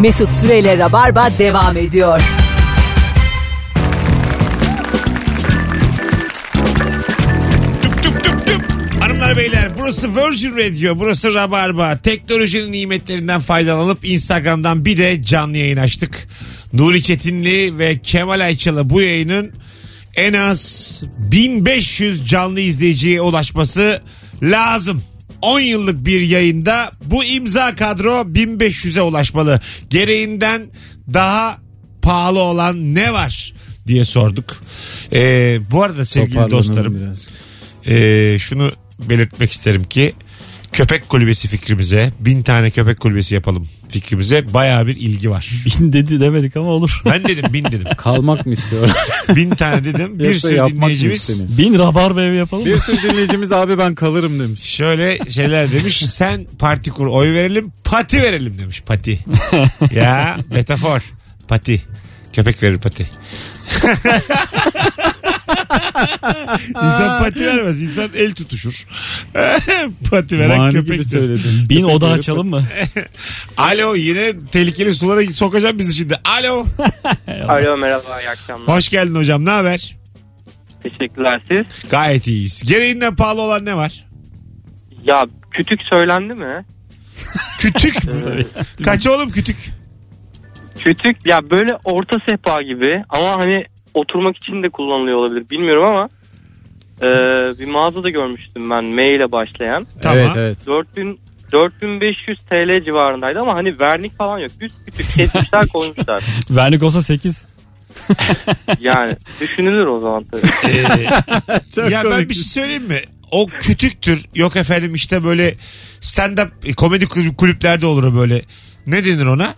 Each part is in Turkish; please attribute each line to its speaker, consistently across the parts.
Speaker 1: Mesut Süreyle Rabarba devam ediyor.
Speaker 2: Tüp tüp tüp. Hanımlar beyler burası Virgin Radio burası Rabarba. Teknolojinin nimetlerinden faydalanıp Instagram'dan bir de canlı yayın açtık. Nuri Çetinli ve Kemal Ayçalı bu yayının en az 1500 canlı izleyiciye ulaşması lazım. 10 yıllık bir yayında bu imza kadro 1500'e ulaşmalı. Gereğinden daha pahalı olan ne var diye sorduk. Ee, bu arada sevgili
Speaker 3: Toparlanalım
Speaker 2: dostlarım
Speaker 3: biraz.
Speaker 2: ee, şunu belirtmek isterim ki köpek kulübesi fikrimize bin tane köpek kulübesi yapalım fikrimize baya bir ilgi var.
Speaker 4: Bin dedi demedik ama olur.
Speaker 2: Ben dedim bin dedim.
Speaker 3: Kalmak mı istiyor?
Speaker 2: Bin tane dedim. Bir
Speaker 3: Yoksa
Speaker 2: sürü
Speaker 3: yapmak mı
Speaker 2: dinleyicimiz
Speaker 3: istemiyor?
Speaker 4: Bin rabarba evi yapalım mı?
Speaker 3: Bir sürü dinleyicimiz abi ben kalırım demiş.
Speaker 2: şöyle şeyler demiş. Sen parti kur oy verelim pati verelim demiş pati. ya metafor pati. Köpek verir pati. insan pati vermez. İnsan el tutuşur. pati veren
Speaker 3: Mani
Speaker 2: köpek.
Speaker 3: gibi söyledin.
Speaker 4: Bin oda açalım mı?
Speaker 2: Alo yine tehlikeli sulara sokacağım bizi şimdi. Alo.
Speaker 5: Alo merhaba iyi akşamlar.
Speaker 2: Hoş geldin hocam ne haber?
Speaker 5: Teşekkürler siz.
Speaker 2: Gayet iyiyiz. Gereğinden pahalı olan ne var?
Speaker 5: Ya kütük söylendi mi?
Speaker 2: Kütük. Kaç oğlum kütük?
Speaker 5: Kütük ya böyle orta sehpa gibi ama hani oturmak için de kullanılıyor olabilir bilmiyorum ama e, bir mağazada görmüştüm ben M ile başlayan.
Speaker 2: Tamam.
Speaker 3: Evet evet.
Speaker 5: 4000 4500 TL civarındaydı ama hani vernik falan yok. Düz kütük kesmişler koymuşlar.
Speaker 4: Vernik olsa 8.
Speaker 5: Yani düşünülür o zaman tabii.
Speaker 2: Ee,
Speaker 3: Çok
Speaker 2: ya ben bir şey söyleyeyim mi? O kütüktür. Yok efendim işte böyle stand-up e, komedi kulüp- kulüplerde olur o böyle. Ne denir ona?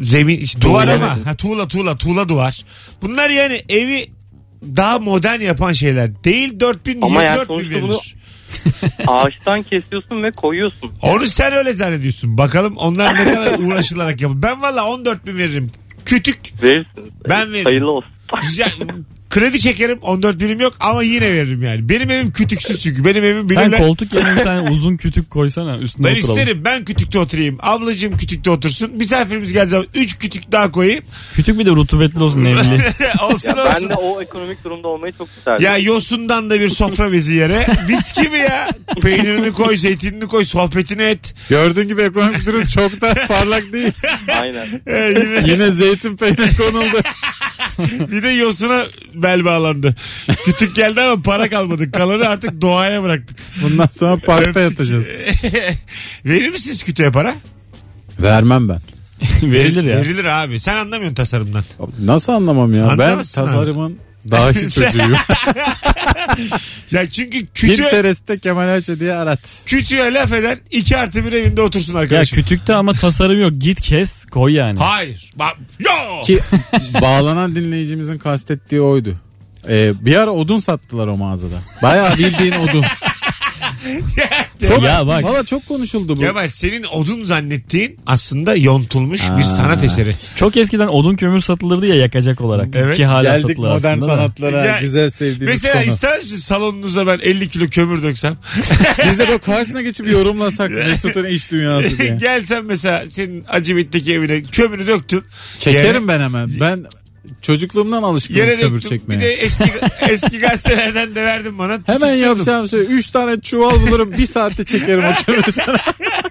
Speaker 2: Zemin, işte duvar
Speaker 4: Tuğla.
Speaker 2: ama. Ha, tuğla tuğla tuğla duvar. Bunlar yani evi daha modern yapan şeyler. Değil 4000
Speaker 5: Ama yani
Speaker 2: 24 bin
Speaker 5: sonuçta bunu-
Speaker 2: verilir.
Speaker 5: Ağaçtan kesiyorsun ve koyuyorsun.
Speaker 2: Onu sen öyle zannediyorsun. Bakalım onlar ne kadar uğraşılarak yapıyor. Ben valla 14 bin veririm. Kütük.
Speaker 5: Verirsiniz.
Speaker 2: Ben veririm.
Speaker 5: Hayırlı olsun.
Speaker 2: Güzel. Kredi çekerim 14 birim yok ama yine veririm yani. Benim evim kütüksüz çünkü. Benim evim
Speaker 4: Sen
Speaker 2: bilirler.
Speaker 4: koltuk yerine bir tane uzun kütük koysana üstüne
Speaker 2: Ben
Speaker 4: oturalım.
Speaker 2: isterim ben kütükte oturayım. Ablacığım kütükte otursun. Misafirimiz geldiği zaman 3 kütük daha koyayım.
Speaker 4: Kütük bir de rutubetli olsun nemli.
Speaker 2: olsun
Speaker 5: Ya ben
Speaker 2: olsun.
Speaker 5: de o ekonomik durumda olmayı çok isterdim.
Speaker 2: Ya yosundan da bir sofra bezi yere. Biz gibi ya. Peynirini koy, zeytinini koy, sohbetini et.
Speaker 3: Gördüğün gibi ekonomik durum çok da parlak değil.
Speaker 5: Aynen.
Speaker 2: Ee, yine-
Speaker 3: Yine zeytin peynir konuldu.
Speaker 2: Bir de yosuna bel bağlandı. Kütük geldi ama para kalmadı. Kalanı artık doğaya bıraktık.
Speaker 3: Bundan sonra parkta yatacağız.
Speaker 2: Verir misiniz kütüğe para?
Speaker 3: Vermem ben.
Speaker 4: Verilir ya.
Speaker 2: Verilir abi. Sen anlamıyorsun tasarımdan.
Speaker 3: Nasıl anlamam ya?
Speaker 2: Anlamazsın
Speaker 3: ben
Speaker 2: abi.
Speaker 3: tasarımın daha hiç çocuğuyum.
Speaker 2: Ya çünkü kütüğe,
Speaker 3: Pinterest'te Kemal Ayça diye arat.
Speaker 2: kütüğe laf eden 2 artı bir evinde otursun
Speaker 4: Ya
Speaker 2: arkadaşım.
Speaker 4: kütükte ama tasarım yok. Git kes koy yani.
Speaker 2: Hayır. Bak, yo.
Speaker 3: Ki bağlanan dinleyicimizin kastettiği oydu. Ee, bir ara odun sattılar o mağazada. Bayağı bildiğin odun. Çok,
Speaker 4: Ya bak.
Speaker 3: Valla çok konuşuldu bu.
Speaker 2: Kemal senin odun zannettiğin aslında yontulmuş
Speaker 3: Aa.
Speaker 2: bir sanat eseri.
Speaker 4: Çok eskiden odun kömür satılırdı ya yakacak olarak.
Speaker 2: Evet.
Speaker 4: Ki hala
Speaker 3: Geldik
Speaker 4: satılır
Speaker 3: modern
Speaker 4: aslında. da.
Speaker 3: sanatlara.
Speaker 2: Ya-
Speaker 3: güzel sevdiğimiz
Speaker 2: Mesela
Speaker 3: konu.
Speaker 2: ister misin salonunuza ben 50 kilo kömür döksem?
Speaker 3: Biz de böyle karşısına geçip yorumlasak Mesut'un iş dünyası diye.
Speaker 2: Gelsem mesela senin Acıbit'teki evine kömürü döktüm. Yere-
Speaker 3: Çekerim ben hemen. Ben çocukluğumdan alışkınım
Speaker 2: Yere
Speaker 3: kömür
Speaker 2: döktüm.
Speaker 3: çekmeye.
Speaker 2: Bir de eski eski gazetelerden de verdim bana.
Speaker 3: Hemen
Speaker 2: Tutuşturdum.
Speaker 3: yapacağım şey. Üç tane çuval bulurum. bir saatte çekerim o kömürü sana.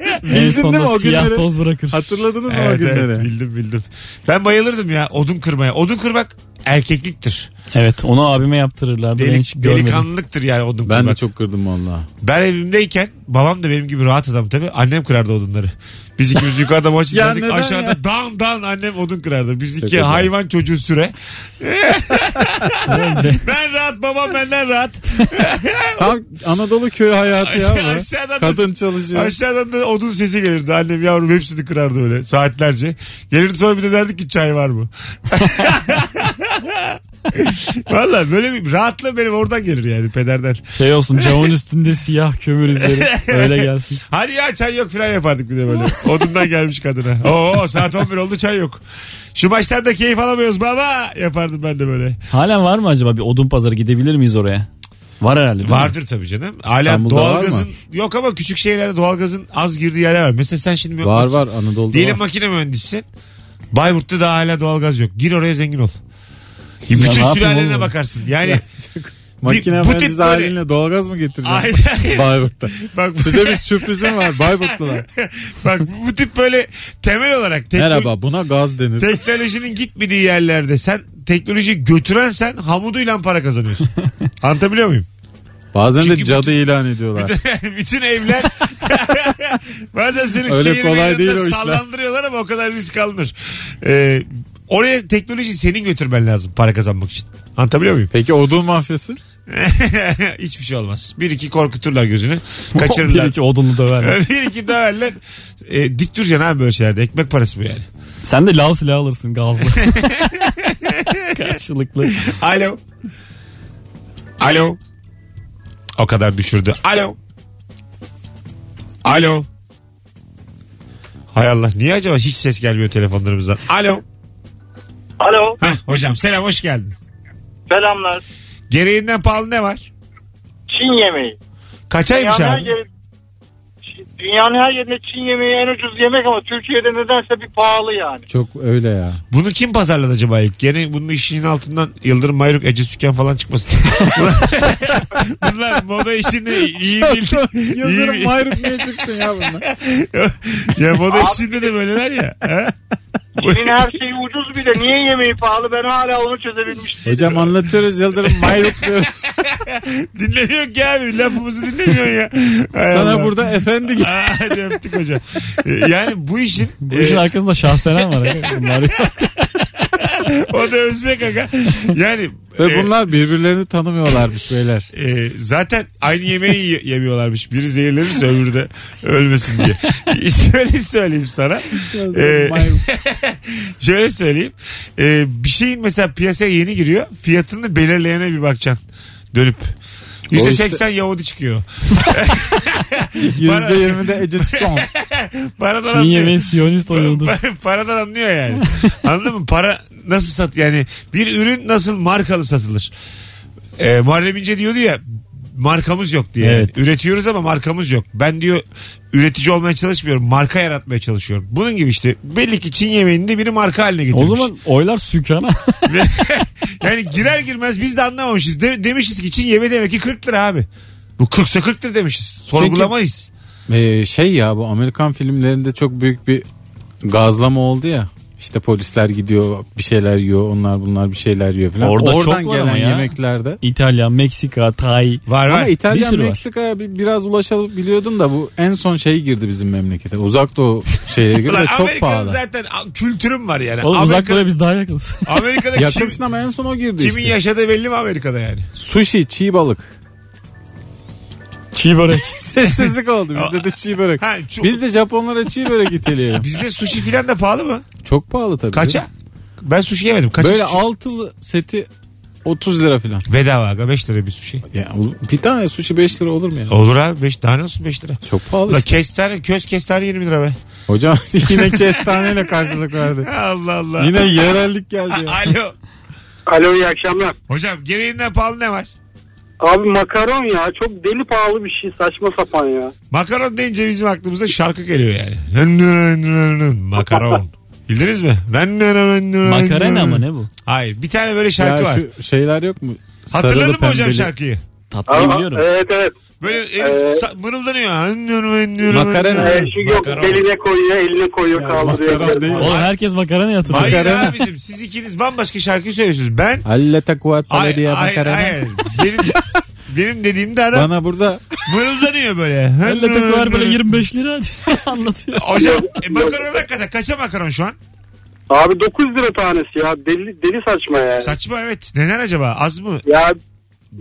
Speaker 4: En
Speaker 3: Bildin değil mi
Speaker 4: sonunda
Speaker 3: o
Speaker 4: siyah
Speaker 3: günleri?
Speaker 4: toz bırakır.
Speaker 3: Hatırladınız mı o
Speaker 2: Evet,
Speaker 3: günleri?
Speaker 2: evet, bildim bildim. Ben bayılırdım ya odun kırmaya. Odun kırmak erkekliktir.
Speaker 4: Evet onu abime yaptırırlardı. ben hiç
Speaker 2: Delik,
Speaker 4: görmedim.
Speaker 2: delikanlılıktır yani odun
Speaker 3: Ben de
Speaker 2: kırmak.
Speaker 3: çok kırdım valla.
Speaker 2: Ben evimdeyken babam da benim gibi rahat adam tabii. Annem kırardı odunları. Biz ikimiz yukarıda maç
Speaker 3: Ya
Speaker 2: izlerdik.
Speaker 3: neden
Speaker 2: Aşağıda
Speaker 3: ya?
Speaker 2: dan dan annem odun kırardı. Biz iki
Speaker 3: güzel.
Speaker 2: hayvan çocuğu süre. ben rahat babam benden rahat.
Speaker 3: Tam Anadolu köyü hayatı ya.
Speaker 2: Aşağı-
Speaker 3: bu.
Speaker 2: aşağıdan da-
Speaker 3: Kadın çalışıyor.
Speaker 2: Aşağıdan da odun sesi gelirdi. Annem yavrum hepsini kırardı öyle saatlerce. Gelirdi sonra bir de derdik ki çay var mı? Valla böyle bir rahatlığı benim oradan gelir yani pederden.
Speaker 4: Şey olsun camın üstünde siyah kömür izleri. Öyle gelsin.
Speaker 2: Hadi ya çay yok falan yapardık bir de böyle. Odundan gelmiş kadına. Oo saat 11 oldu çay yok. Şu maçtan da keyif alamıyoruz baba yapardım ben de böyle.
Speaker 4: Hala var mı acaba bir odun pazarı gidebilir miyiz oraya? Var herhalde. değil mi?
Speaker 2: Vardır tabii canım. Hala
Speaker 3: İstanbul'da var mı?
Speaker 2: doğalgazın yok ama küçük şehirlerde doğalgazın az girdiği yerler var. Mesela sen şimdi bir-
Speaker 3: Var var Anadolu'da
Speaker 2: diyelim
Speaker 3: var.
Speaker 2: makine mühendisisin. Bayburt'ta daha hala doğalgaz yok. Gir oraya zengin ol. Ya
Speaker 4: ne
Speaker 2: bütün
Speaker 4: yapayım
Speaker 2: sülalene
Speaker 4: oğlum?
Speaker 2: bakarsın. Yani
Speaker 3: Makine
Speaker 2: bu tip
Speaker 3: mühendisi
Speaker 2: böyle-
Speaker 3: haline doğalgaz mı getireceksin?
Speaker 2: Hayır, hayır.
Speaker 3: Bayburt'ta.
Speaker 2: bak,
Speaker 3: Size bir sürprizim var Bayburtlular.
Speaker 2: bak bu tip böyle temel olarak tekno-
Speaker 3: Merhaba buna gaz denir.
Speaker 2: teknolojinin gitmediği yerlerde sen teknoloji götüren sen hamuduyla para kazanıyorsun. Anlatabiliyor muyum?
Speaker 3: Bazen de
Speaker 2: Çünkü
Speaker 3: cadı ilan ediyorlar.
Speaker 2: Bütün evler bazen senin
Speaker 3: Öyle
Speaker 2: şehrin
Speaker 3: kolay
Speaker 2: yanında
Speaker 3: değil o işler.
Speaker 2: sallandırıyorlar ama o kadar risk alınır. Ee, oraya teknoloji senin götürmen lazım para kazanmak için. Anlatabiliyor muyum?
Speaker 3: Peki odun mafyası?
Speaker 2: Hiçbir şey olmaz. Bir iki korkuturlar gözünü.
Speaker 4: Bir
Speaker 2: Kaçırırlar.
Speaker 4: iki odunlu döver.
Speaker 2: bir iki döverler. Ee, dik duracaksın abi böyle şeylerde. Ekmek parası bu yani.
Speaker 4: Sen de lav silahı alırsın gazlı. Karşılıklı.
Speaker 2: Alo. Alo. O kadar düşürdü. Alo. Alo. Hay Allah niye acaba hiç ses gelmiyor telefonlarımızdan? Alo.
Speaker 5: Alo
Speaker 2: Hah, hocam selam hoş geldin.
Speaker 5: selamlar.
Speaker 2: Gereğinden pahalı ne var?
Speaker 5: Çin yemeği.
Speaker 2: Kaçaymış
Speaker 5: Dünyanın her
Speaker 2: abi?
Speaker 5: yeri- Çin- Dünyanın her yerinde Çin yemeği en ucuz yemek ama Türkiye'de nedense bir pahalı yani.
Speaker 3: Çok öyle ya.
Speaker 2: Bunu kim pazarladı acaba ilk? Gene bunun işinin altından Yıldırım Mayruk Ece Süken falan çıkmasın. Bunlar moda işini iyi bildi.
Speaker 3: Yıldırım Mayruk niye çıksın ya bunlar?
Speaker 2: ya moda işinde de böyleler ya. Ha?
Speaker 5: Çin'in her şeyi ucuz bir de niye yemeği pahalı ben hala onu çözebilmiş değilim.
Speaker 3: Hocam anlatıyoruz Yıldırım Mayruk diyoruz.
Speaker 2: Dinlemiyor ki abi. Lafımızı dinlemiyor ya. Hay
Speaker 3: Sana
Speaker 2: Allah.
Speaker 3: burada efendi gibi.
Speaker 2: Aa, Hadi öptük hocam. Ee, Yani bu işin,
Speaker 4: Bu işin
Speaker 2: e,
Speaker 4: arkasında şahsenen var. Bunlar
Speaker 2: o da Özbek aga. Yani
Speaker 3: Ve bunlar birbirlerini tanımıyorlarmış beyler.
Speaker 2: e, e, zaten aynı yemeği ye- yemiyorlarmış. Biri zehirlenirse öbürü de ölmesin diye. Şöyle söyleyeyim sana. Ee,
Speaker 3: Mayruk.
Speaker 2: Şöyle söyleyeyim. Ee, bir şeyin mesela piyasaya yeni giriyor. Fiyatını belirleyene bir bakacaksın. Dönüp.
Speaker 3: işte-
Speaker 2: %80 Yahudi çıkıyor.
Speaker 3: %20 de Ece Stone.
Speaker 2: Paradan
Speaker 4: Çin
Speaker 2: anlıyor.
Speaker 4: yemeği siyonist oyundur.
Speaker 2: Pa- Paradan anlıyor yani. Anladın mı? Para nasıl sat yani bir ürün nasıl markalı satılır? Ee, Muharrem İnce diyordu ya markamız yok diye.
Speaker 4: Evet.
Speaker 2: Üretiyoruz ama markamız yok. Ben diyor üretici olmaya çalışmıyorum. Marka yaratmaya çalışıyorum. Bunun gibi işte belli ki Çin yemeğinde biri marka haline getirmiş.
Speaker 4: O zaman oylar sükana.
Speaker 2: yani girer girmez biz de anlamamışız. De- demişiz ki Çin yemeği demek ki 40 lira abi. Bu 40'sa 40 lira demişiz. Sorgulamayız.
Speaker 3: Ee, şey ya bu Amerikan filmlerinde çok büyük bir gazlama oldu ya. İşte polisler gidiyor bir şeyler yiyor onlar bunlar bir şeyler yiyor falan.
Speaker 4: Orada çok
Speaker 3: Oradan
Speaker 4: var ama
Speaker 3: gelen
Speaker 4: ya.
Speaker 3: yemeklerde.
Speaker 4: İtalya, Meksika, Tay.
Speaker 2: Var var.
Speaker 3: Ama İtalyan
Speaker 4: Bir sürü var.
Speaker 3: Meksika'ya bi- biraz ulaşabiliyordun da bu en son şey girdi bizim memlekete. Uzak Doğu şeye girdi
Speaker 2: Ulan
Speaker 3: de çok
Speaker 2: Amerika'nın
Speaker 3: pahalı.
Speaker 2: zaten a- kültürüm var yani.
Speaker 4: Oğlum
Speaker 2: Amerika-
Speaker 4: uzaklara biz daha yakınız.
Speaker 2: Amerika'da kim,
Speaker 3: Yakınsın ama en son o girdi
Speaker 2: kimin
Speaker 3: işte.
Speaker 2: yaşadığı belli mi Amerika'da yani?
Speaker 3: Sushi, çiğ balık.
Speaker 4: Çiğ börek.
Speaker 3: Sessizlik oldu bizde de çiğ börek.
Speaker 2: Ha, çok-
Speaker 3: Biz de Japonlara çiğ börek iteleyelim.
Speaker 2: Bizde sushi filan da pahalı mı?
Speaker 3: Çok pahalı tabii.
Speaker 2: Kaça? Ben sushi yemedim. Kaça
Speaker 3: Böyle
Speaker 2: sushi?
Speaker 3: altılı seti 30 lira falan.
Speaker 2: Bedava aga 5 lira bir sushi.
Speaker 3: Ya, bu- bir tane sushi 5 lira olur mu ya?
Speaker 2: Olur abi 5 tane olsun 5 lira.
Speaker 3: Çok pahalı
Speaker 2: La
Speaker 3: işte.
Speaker 2: kestane köz kestane 20 lira be.
Speaker 3: Hocam yine kestaneyle karşılık verdi.
Speaker 2: Allah Allah.
Speaker 3: Yine yerellik geldi ya.
Speaker 2: Alo.
Speaker 5: Alo iyi akşamlar.
Speaker 2: Hocam gereğinden pahalı ne var?
Speaker 5: Abi makaron ya çok deli pahalı bir şey saçma sapan ya.
Speaker 2: Makaron deyince bizim aklımıza şarkı geliyor yani. Rın rın rın rın, Makaron. Bildiniz mi? Rın rın rın rın.
Speaker 4: Makarena mı ne bu?
Speaker 2: Hayır bir tane böyle şarkı
Speaker 3: Ya
Speaker 2: var.
Speaker 3: şu şeyler yok mu? Sarılı,
Speaker 2: Hatırladın mı hocam
Speaker 3: pembeli.
Speaker 2: şarkıyı?
Speaker 4: Tatlıyı biliyorum.
Speaker 5: Evet evet.
Speaker 2: Böyle elif
Speaker 5: Ee,
Speaker 2: sa- mırıldanıyor. Rın rın rın rın.
Speaker 3: Makarena. Evet,
Speaker 5: şu yok
Speaker 2: Makaron.
Speaker 5: beline koyuyor eline koyuyor
Speaker 3: Ya,
Speaker 5: kaldırıyor.
Speaker 3: makaron değil.
Speaker 4: Oğlum herkes makarena yatırıyor.
Speaker 2: Hayır
Speaker 3: Makarena.
Speaker 2: abicim siz ikiniz bambaşka şarkı söylüyorsunuz. Ben
Speaker 3: Alleta
Speaker 2: Ay-
Speaker 3: kuatale diye
Speaker 2: ay-
Speaker 3: makarena.
Speaker 2: ay- Benim, benim dediğimde adam
Speaker 3: Bana burada
Speaker 2: mırıldanıyor böyle.
Speaker 4: Elle takı var böyle 25 lira diye anlatıyor.
Speaker 2: Hocam e, makaron hakikaten kaça makaron şu an?
Speaker 5: Abi 9 lira tanesi ya deli, deli saçma yani.
Speaker 2: Saçma evet. Neden acaba? Az mı?
Speaker 5: Ya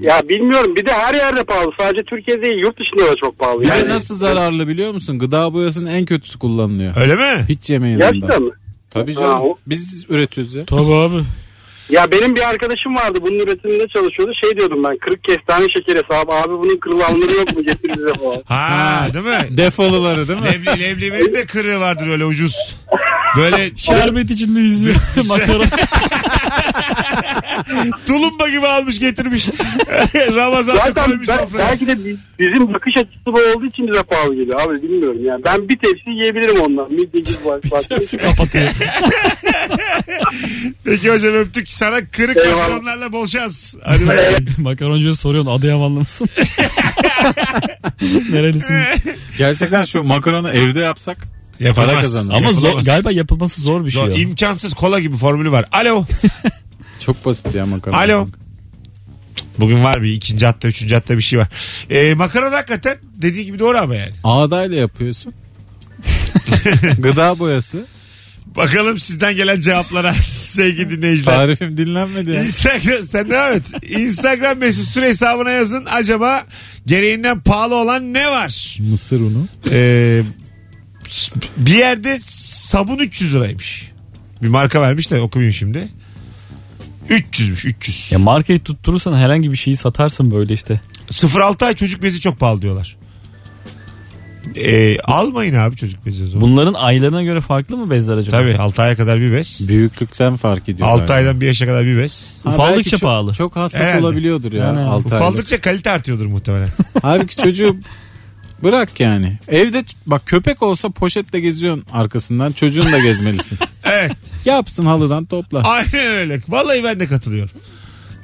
Speaker 5: ya bilmiyorum bir de her yerde pahalı sadece Türkiye'de değil yurt dışında da çok pahalı.
Speaker 3: bir de
Speaker 5: yani.
Speaker 3: nasıl zararlı biliyor musun? Gıda boyasının en kötüsü kullanılıyor.
Speaker 2: Öyle mi?
Speaker 3: Hiç yemeyin
Speaker 5: Gerçekten
Speaker 3: ondan.
Speaker 5: mi?
Speaker 3: Tabii
Speaker 5: Ha,
Speaker 3: canım.
Speaker 5: o-
Speaker 3: Biz üretiyoruz ya.
Speaker 4: Tabii abi.
Speaker 5: Ya benim bir arkadaşım vardı bunun üretiminde çalışıyordu şey diyordum ben kırık kestane şekeri hesabı abi bunun kırılanları yok mu getir bize falan.
Speaker 2: Ha, değil mi?
Speaker 3: Defoluları değil mi?
Speaker 2: Lebli leblebinin de kırığı vardır öyle ucuz. Böyle şey,
Speaker 4: Şerbet içinde yüzüyor. makarona.
Speaker 2: Tulumba gibi almış getirmiş. Ramazan'da
Speaker 6: Zaten
Speaker 2: koymuş
Speaker 6: ben-
Speaker 2: sofraya.
Speaker 6: belki de bi- bizim bakış açısı bu olduğu için bize pahalı geliyor abi bilmiyorum yani. Ben bir tepsi yiyebilirim ondan. Midye gibi var.
Speaker 4: Hepsi kapatıyor.
Speaker 2: Peki hocam öptük. Sana kırık
Speaker 6: Eyvallah.
Speaker 2: patronlarla bol şans. Hadi bay
Speaker 4: Makaroncuya soruyorsun Adıyamanlı mısın? Nerelisin?
Speaker 2: bay.
Speaker 3: Gerçekten şu makaronu evde yapsak
Speaker 2: Yapamaz.
Speaker 3: Para kazanır.
Speaker 4: Ama zor,
Speaker 2: Yapılamaz.
Speaker 4: galiba yapılması zor bir şey.
Speaker 2: Zor,
Speaker 4: ya.
Speaker 2: imkansız kola gibi formülü var. Alo.
Speaker 3: çok basit ya makaron.
Speaker 2: Alo. Bugün var bir ikinci hatta üçüncü hatta bir şey var. Ee, makaron hakikaten dediği gibi doğru ama yani.
Speaker 3: Ağdayla yapıyorsun. Gıda boyası.
Speaker 2: Bakalım sizden gelen cevaplara sevgili dinleyiciler.
Speaker 3: Tarifim dinlenmedi ya.
Speaker 2: Instagram sen devam et. Instagram mesut süre hesabına yazın. Acaba gereğinden pahalı olan ne var?
Speaker 3: Mısır unu.
Speaker 2: Ee, bir yerde sabun 300 liraymış. Bir marka vermiş de okumayayım şimdi. 300'müş 300.
Speaker 4: Ya markayı tutturursan herhangi bir şeyi satarsın böyle işte.
Speaker 2: 0-6 ay çocuk bezi çok pahalı diyorlar. Ee, almayın abi çocuk bezi o zaman.
Speaker 4: Bunların aylarına göre farklı mı bezler acaba?
Speaker 2: Tabii 6 aya kadar bir bez.
Speaker 3: Büyüklükten fark ediyor.
Speaker 2: 6
Speaker 3: galiba.
Speaker 2: aydan 1 yaşa kadar bir bez.
Speaker 3: Ha,
Speaker 4: Ufaldıkça
Speaker 3: belki çok-
Speaker 4: pahalı.
Speaker 3: Çok hassas
Speaker 2: Herhalde.
Speaker 3: olabiliyordur ya.
Speaker 4: Yani.
Speaker 3: 6 aylık.
Speaker 2: Ufaldıkça kalite artıyordur muhtemelen.
Speaker 3: Halbuki çocuğu bırak yani. Evde t- bak köpek olsa poşetle geziyorsun arkasından. Çocuğun da gezmelisin.
Speaker 2: evet.
Speaker 3: Yapsın halıdan topla.
Speaker 2: Aynen öyle. Vallahi ben de katılıyorum.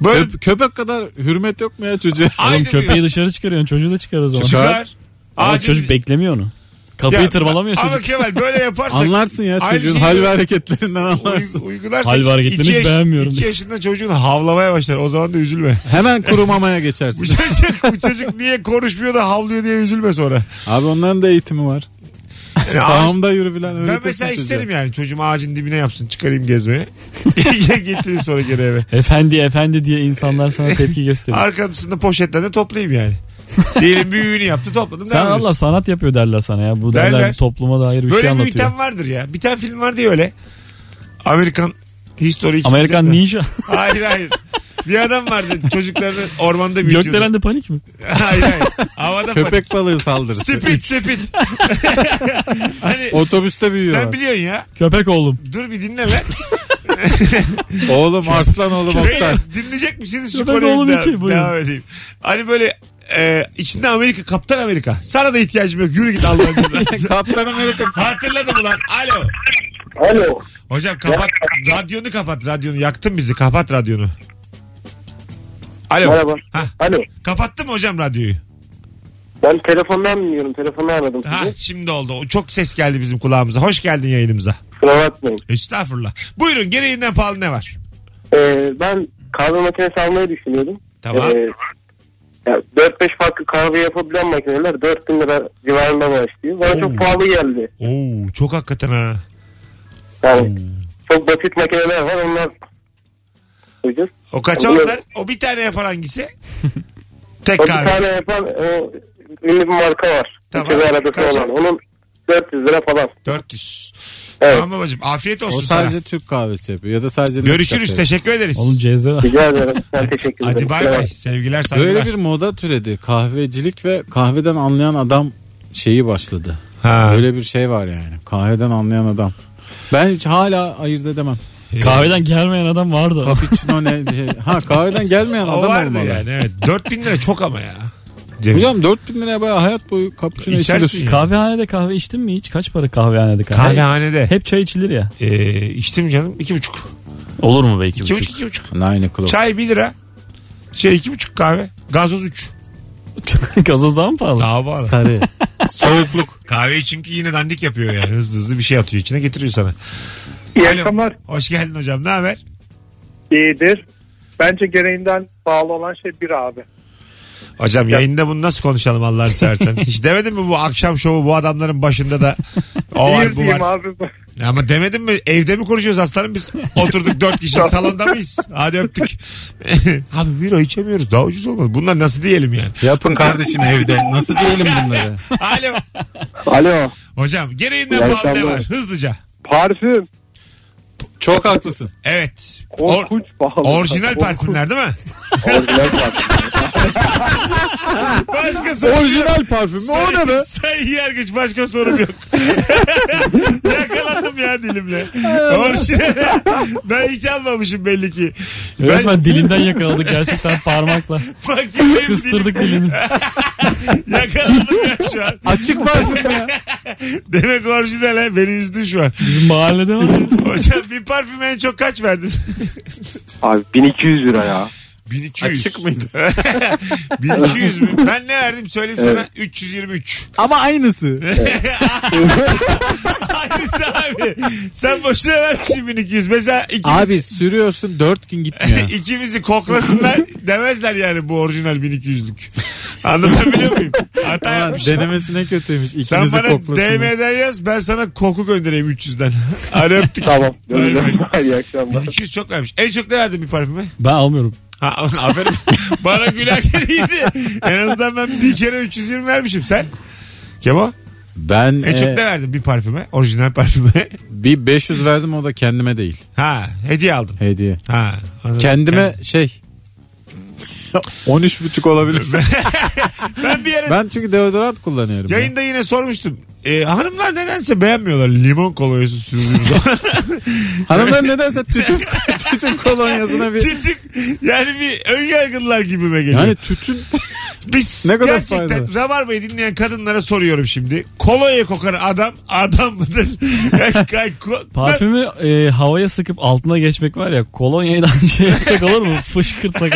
Speaker 2: Böyle
Speaker 3: Köp- köpek kadar hürmet yok mu ya çocuğa?
Speaker 4: Oğlum
Speaker 2: Aynen
Speaker 4: köpeği
Speaker 2: öyle.
Speaker 4: dışarı çıkarıyorsun çocuğu da çıkar o zaman.
Speaker 2: çıkar.
Speaker 4: Ama
Speaker 2: Acil-
Speaker 4: çocuk beklemiyor onu. Kapıyı
Speaker 2: Ya,
Speaker 4: tırmalamıyor
Speaker 2: ama
Speaker 4: çocuk.
Speaker 2: Kemal böyle yaparsak
Speaker 3: Anlarsın ya
Speaker 2: Aynı
Speaker 3: çocuğun
Speaker 2: şeyi-
Speaker 3: hal ve hareketlerinden anlarsın.
Speaker 2: uy- uygularsak
Speaker 4: Hal ve hareketlerini
Speaker 2: iki
Speaker 4: hiç beğenmiyorum
Speaker 2: 2
Speaker 4: diye.
Speaker 2: yaşında çocuğun havlamaya başlar. O zaman da üzülme.
Speaker 3: Hemen kuru mamaya
Speaker 2: bu,
Speaker 3: geçersin.
Speaker 2: çocuk, bu çocuk niye konuşmuyor da havlıyor diye üzülme sonra.
Speaker 3: Abi onların da eğitimi var. Sağımda yürü filan
Speaker 2: Ben
Speaker 3: öğretirsin
Speaker 2: mesela
Speaker 3: çocuğa.
Speaker 2: isterim yani çocuğum ağacın dibine yapsın çıkarayım gezmeye. Getirin sonra geri eve.
Speaker 4: Efendi efendi diye insanlar sana tepki gösterir.
Speaker 2: Arkasında poşetle de toplayayım yani. Diyelim büyüğünü yaptı topladım.
Speaker 4: Sen
Speaker 2: devam
Speaker 4: Allah
Speaker 2: ediyorsun.
Speaker 4: sanat yapıyor derler sana ya. Bu derler,
Speaker 2: Derler.
Speaker 4: topluma dair bir
Speaker 2: Böyle
Speaker 4: şey anlatıyor.
Speaker 2: büyüten vardır ya. Bir tane film var diye öyle. Amerikan History X
Speaker 4: Amerikan
Speaker 2: diyeceğim de.
Speaker 4: ninja.
Speaker 2: Hayır hayır. Bir adam vardı çocuklarını ormanda büyütüyordu.
Speaker 4: Gökdelen de panik mi?
Speaker 2: Hayır hayır. Havada panik.
Speaker 3: Köpek balığı saldırısı.
Speaker 2: Spit spit. hani
Speaker 3: Otobüste
Speaker 2: sen
Speaker 3: büyüyor.
Speaker 2: biliyorsun ya.
Speaker 4: Köpek oğlum.
Speaker 2: Dur bir dinle lan.
Speaker 3: Oğlum arslan oğlum
Speaker 2: Beyler
Speaker 3: Oktar.
Speaker 2: dinleyecek misiniz şu
Speaker 4: Şurada
Speaker 2: konuyu?
Speaker 4: oğlum
Speaker 2: Devam-
Speaker 4: iki, buyurun.
Speaker 2: Devam edeyim. Hani böyle e, içinde Amerika, Kaptan Amerika. Sana da ihtiyacım yok. Yürü git Allah'ın cezası.
Speaker 3: Kaptan Amerika.
Speaker 2: Hatırladım ulan. Alo.
Speaker 6: Alo.
Speaker 2: Hocam kapat. Radyonu kapat. Radyonu yaktın bizi. Kapat radyonu. Alo.
Speaker 6: Merhaba.
Speaker 2: Hah.
Speaker 6: Alo.
Speaker 2: Kapattın mı hocam radyoyu?
Speaker 6: Ben telefondan dinliyorum. Telefonu aradım
Speaker 2: Ha
Speaker 6: sizi.
Speaker 2: şimdi oldu. O çok ses geldi bizim kulağımıza. Hoş geldin yayınımıza.
Speaker 6: Kusura bakmayın.
Speaker 2: Estağfurullah. Buyurun gereğinden pahalı ne var?
Speaker 6: Ee, ben kahve makinesi almayı düşünüyordum.
Speaker 2: Tamam.
Speaker 6: Ee, ya 4-5 farklı kahve yapabilen makineler 4000 lira civarında başlıyor. Bana
Speaker 2: Oo.
Speaker 6: çok pahalı geldi.
Speaker 2: Oo çok hakikaten ha. Hmm.
Speaker 6: Yani çok basit makineler var onlar ucuz.
Speaker 2: O kaça onlar? O bir tane yapar hangisi? Tek
Speaker 6: O bir
Speaker 2: kahve.
Speaker 6: tane yapan o, ünlü bir marka var.
Speaker 2: Tamam.
Speaker 6: Tamam. arabası
Speaker 2: Kaça?
Speaker 6: olan. Onun 400 lira falan.
Speaker 2: 400.
Speaker 6: Evet.
Speaker 2: Tamam babacığım afiyet olsun
Speaker 3: O sadece Türk kahvesi yapıyor ya da sadece
Speaker 2: Görüşürüz
Speaker 3: Nescafe.
Speaker 2: teşekkür ederiz.
Speaker 4: Oğlum cezve.
Speaker 6: Rica ederim. Ben teşekkür ederim.
Speaker 2: Hadi bay bay sevgiler saygılar.
Speaker 3: Böyle bir moda türedi. Kahvecilik ve kahveden anlayan adam şeyi başladı.
Speaker 2: ha.
Speaker 3: Böyle bir şey var yani. Kahveden anlayan adam. Ben hiç hala ayırt edemem.
Speaker 2: e,
Speaker 4: Kahveden gelmeyen adam vardı.
Speaker 3: Cappuccino ne? Şey. Ha kahveden gelmeyen
Speaker 2: o
Speaker 3: adam
Speaker 2: vardı
Speaker 3: olmalı.
Speaker 2: yani evet. 4000 lira çok ama ya. Cem.
Speaker 3: Hocam 4000 liraya bayağı hayat boyu cappuccino
Speaker 2: İçersin
Speaker 3: içilir.
Speaker 2: ya.
Speaker 4: Kahvehanede kahve içtin mi hiç? Kaç para kahvehanede kahve?
Speaker 2: Kahvehanede
Speaker 4: Hep çay içilir ya.
Speaker 2: e, içtim canım 2,5.
Speaker 4: Olur mu belki?
Speaker 2: 2,5
Speaker 4: buçuk?
Speaker 2: 2,5.
Speaker 3: Nine o'clock.
Speaker 2: Çay 1 lira. Şey 2,5 kahve. Gazoz 3.
Speaker 4: Gazoz daha mı pahalı?
Speaker 2: Daha bağlı.
Speaker 3: Sarı. Soğukluk.
Speaker 2: Kahveyi çünkü yine dandik yapıyor yani. Hızlı hızlı bir şey atıyor içine getiriyor sana.
Speaker 7: İyi
Speaker 2: Alo.
Speaker 7: akşamlar.
Speaker 2: Hoş geldin hocam ne haber?
Speaker 7: İyidir. Bence gereğinden pahalı olan şey bir abi.
Speaker 2: Hocam yayında bunu nasıl konuşalım Allah'ını seversen? Hiç demedin mi bu akşam şovu bu adamların başında da o var
Speaker 7: bir
Speaker 2: bu
Speaker 7: diyeyim
Speaker 2: var.
Speaker 7: abi.
Speaker 2: Ama demedin mi evde mi konuşuyoruz aslanım biz? Oturduk dört kişi salonda mıyız? Hadi öptük. Abi bira içemiyoruz daha ucuz olmaz. Bunlar nasıl diyelim yani?
Speaker 3: Yapın kardeşim evde. Nasıl diyelim bunları?
Speaker 2: Alo.
Speaker 6: Alo.
Speaker 2: Hocam
Speaker 6: İyi
Speaker 2: gereğinden pahalı ne
Speaker 6: akşamlar.
Speaker 2: var? Hızlıca.
Speaker 7: Parfüm.
Speaker 3: Çok haklısın.
Speaker 2: Evet. Or-
Speaker 7: pahalı.
Speaker 2: orijinal parfümler değil mi?
Speaker 6: Orijinal parfüm.
Speaker 2: Başka soru yok.
Speaker 3: Orijinal parfüm. mü? O ne be?
Speaker 2: Sayın yargıç başka sorum yok. Yakalandım ya dilimle. Orijinal. ben hiç almamışım belli ki. Ben
Speaker 4: Resmen dilinden yakaladık gerçekten parmakla.
Speaker 2: fakir benim dilim.
Speaker 4: Kıstırdık dilini.
Speaker 2: Yakalandım ya şu an.
Speaker 3: Açık parfüm mü ya.
Speaker 2: Demek orijinal ha. Beni üzdün şu an.
Speaker 4: Bizim mahallede var ya.
Speaker 2: Hocam bir parfüm en çok kaç verdin?
Speaker 5: Abi 1200 lira ya.
Speaker 2: 1200.
Speaker 3: Açık mıydı?
Speaker 2: 1200 mü? Ben ne verdim söyleyeyim sana. 323.
Speaker 3: Ama aynısı.
Speaker 2: Aynısı abi. Sen boşuna vermişsin 1200. Mesela ikimiz,
Speaker 3: Abi sürüyorsun 4 gün gitmiyor.
Speaker 2: ikimizi koklasınlar demezler yani bu orijinal 1200'lük. Anlatabiliyor muyum? Hata
Speaker 3: Ama
Speaker 2: yapmışsın.
Speaker 3: denemesi ne kötüymüş.
Speaker 2: Sen
Speaker 3: İkinizi
Speaker 2: bana
Speaker 3: koklasın.
Speaker 2: DM'den yaz ben sana koku göndereyim 300'den. Hadi öptük.
Speaker 7: Tamam.
Speaker 2: Bay bay.
Speaker 7: İyi akşamlar.
Speaker 2: 1200 çok vermiş. En çok ne verdin bir parfüme?
Speaker 4: Ben almıyorum.
Speaker 2: Ha, aferin. bana gülerken iyiydi. En azından ben bir kere 320 vermişim. Sen? Kemo?
Speaker 3: Ben
Speaker 2: En çok
Speaker 3: e,
Speaker 2: ne verdin bir parfüme? Orijinal parfüme.
Speaker 3: bir 500 verdim o da kendime değil.
Speaker 2: ha hediye aldın.
Speaker 3: Hediye.
Speaker 2: Ha, anladım.
Speaker 3: Kendime şey 13,5 olabilir.
Speaker 2: Ben bir yere
Speaker 3: Ben çünkü deodorant kullanıyorum. ya.
Speaker 2: yayında yine sormuştum. E, hanımlar nedense beğenmiyorlar limon kolonyası sürdüğüm zaman.
Speaker 3: Hanımlar nedense tütün, tütün kolonyasına bir...
Speaker 2: Çocuk yani bir ön yargılılar gibime geliyor.
Speaker 3: Yani tütün
Speaker 2: Biz
Speaker 3: Ne kadar
Speaker 2: gerçekten
Speaker 3: faydalı.
Speaker 2: Rabarba'yı dinleyen kadınlara soruyorum şimdi. Kolonya kokan adam adam mıdır? Yani ko-
Speaker 4: Parfümü e, havaya sıkıp altına geçmek var ya kolonyayla aynı şey yapsak olur mu? Fışkırtsak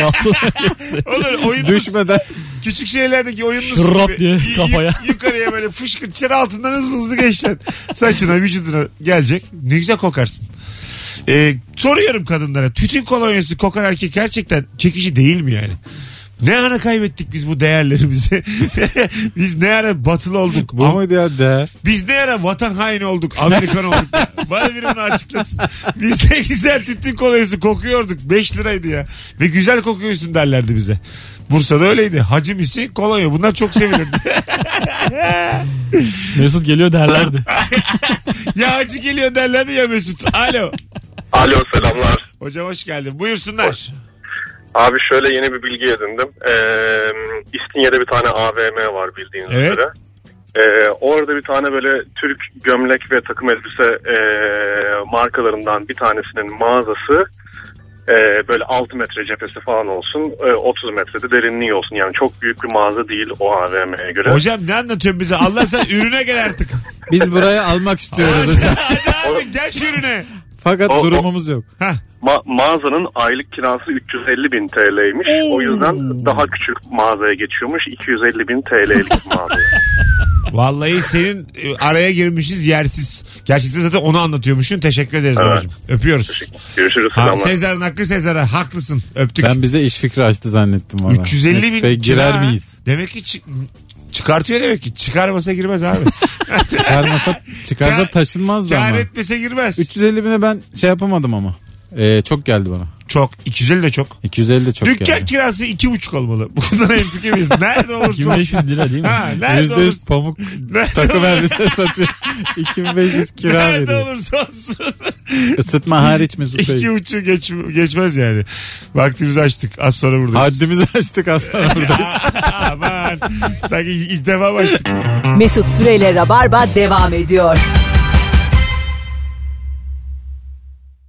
Speaker 4: altına geçse.
Speaker 2: Olur oyun
Speaker 3: düşmeden
Speaker 2: küçük şeylerdeki oyunlu
Speaker 4: Şırrap diye kafaya.
Speaker 2: yukarıya böyle fışkırt içeri altından hızlı hızlı geçeceksin. Saçına vücuduna gelecek. Ne güzel kokarsın. Ee, soruyorum kadınlara tütün kolonyası kokan erkek gerçekten çekici değil mi yani? Ne ara kaybettik biz bu değerlerimizi? biz ne ara batılı olduk?
Speaker 3: bu muydu ya değer?
Speaker 2: Biz ne ara vatan haini olduk, Amerikan olduk. Bana biri bunu açıklasın. Biz ne güzel tütün kolonyası kokuyorduk. 5 liraydı ya. Ve güzel kokuyorsun derlerdi bize. Bursa'da öyleydi. Hacı misi, kolonya. Bunlar çok sevilirdi.
Speaker 4: Mesut geliyor derlerdi.
Speaker 2: ya hacı geliyor derlerdi ya Mesut. Alo.
Speaker 8: Alo selamlar.
Speaker 2: Hocam hoş geldin. Buyursunlar.
Speaker 8: Abi şöyle yeni bir bilgi edindim. Ee, İstinye'de bir tane AVM var bildiğiniz
Speaker 2: Evet.
Speaker 8: üzere. Ee, orada bir tane böyle Türk gömlek ve takım elbise ee, markalarından bir tanesinin mağazası ee, böyle 6 metre cephesi falan olsun ee, 30 metrede derinliği olsun. Yani çok büyük bir mağaza değil o AVM'ye göre.
Speaker 2: Hocam ne anlatıyorsun bize? Allah sen ürüne gel artık.
Speaker 3: Biz buraya almak istiyoruz.
Speaker 2: Hadi abi gel şu ürüne.
Speaker 3: Fakat
Speaker 8: O- o-
Speaker 3: durumumuz yok.
Speaker 2: Hah.
Speaker 8: Ma- mağazanın aylık kirası 350 bin TL'ymiş.
Speaker 2: Oo.
Speaker 8: O yüzden daha küçük mağazaya geçiyormuş. 250 bin TL'lik mağazaya.
Speaker 2: Vallahi senin e, araya girmişiz yersiz. Gerçekten zaten onu anlatıyormuşsun. Teşekkür ederiz
Speaker 8: Evet.
Speaker 2: babacığım. Öpüyoruz.
Speaker 8: Görüşürüz.
Speaker 2: Ha,
Speaker 8: selamlar.
Speaker 2: Sezar'ın hakkı Sezar'a. Haklısın. Öptük.
Speaker 3: Ben bize iş fikri açtı zannettim valla.
Speaker 2: 350 bin
Speaker 3: Mesut Bey, girer
Speaker 2: kira.
Speaker 3: miyiz?
Speaker 2: Demek ki çı- çıkartıyor demek ki. Çıkarmasa girmez abi.
Speaker 3: Çıkarmasa, çıkarsa
Speaker 2: Kar-
Speaker 3: taşınmaz da
Speaker 2: Kar
Speaker 3: ama.
Speaker 2: etmese girmez.
Speaker 3: 350 bine ben şey yapamadım ama. Ee, çok geldi bana.
Speaker 2: Çok. 250 de çok.
Speaker 3: 250 de çok
Speaker 2: Dükkan
Speaker 3: geldi.
Speaker 2: kirası 2,5 olmalı. Bundan en fikiriz. Nerede olursa.
Speaker 4: 2500 lira değil mi?
Speaker 2: Ha, nerede,
Speaker 3: Yüzde
Speaker 2: olursa,
Speaker 3: yüz pamuk
Speaker 2: Nerede
Speaker 3: takım elbise satıyor. 2500 kira
Speaker 2: nerede
Speaker 3: veriyor.
Speaker 2: olursa olsun.
Speaker 3: Isıtma hariç Mesut Bey.
Speaker 2: 2,5 geç, geçmez yani. Vaktimizi açtık. Az sonra buradayız.
Speaker 3: Haddimizi açtık aslında burada.
Speaker 2: Aman. Sanki ilk defa başladık.
Speaker 1: Mesut Süreyle Rabarba devam ediyor.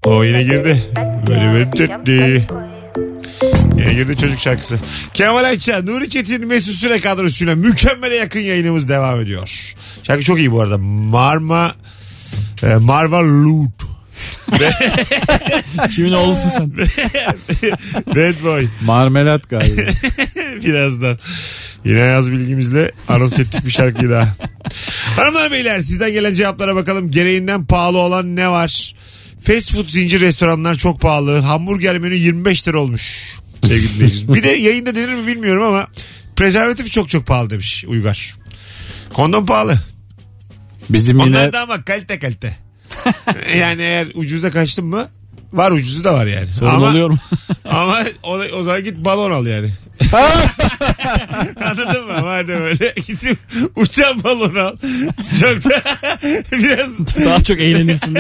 Speaker 2: O yine girdi. Böyle böyle dedi. Yine girdi çocuk şarkısı. Kemal Ayça, Nuri Çetin, Mesut Süre kadrosuyla mükemmele yakın yayınımız devam ediyor. Şarkı çok iyi bu arada. Marma e, Marva Loot.
Speaker 4: Kimin oğlusun sen?
Speaker 2: Bad Boy.
Speaker 3: Marmelat galiba.
Speaker 2: Birazdan. Yine yaz bilgimizle anons ettik bir şarkıyı daha. Hanımlar beyler sizden gelen cevaplara bakalım. Gereğinden pahalı olan ne var? Fast food zincir restoranlar çok pahalı. Hamburger menü 25 lira olmuş. Sevgili dinleyiciler. bir de yayında denir mi bilmiyorum ama prezervatif çok çok pahalı demiş Uygar. Kondom pahalı.
Speaker 3: Bizim yine
Speaker 2: Onlar da ama kalite kalite. yani eğer ucuza kaçtın mı var ucuzu da var yani.
Speaker 4: Sorun
Speaker 2: ama,
Speaker 4: oluyor mu?
Speaker 2: ama o, o zaman git balon al yani. Anladın mı? Madem öyle gidip uçan balon al. Çok da biraz
Speaker 4: Daha çok eğlenirsin.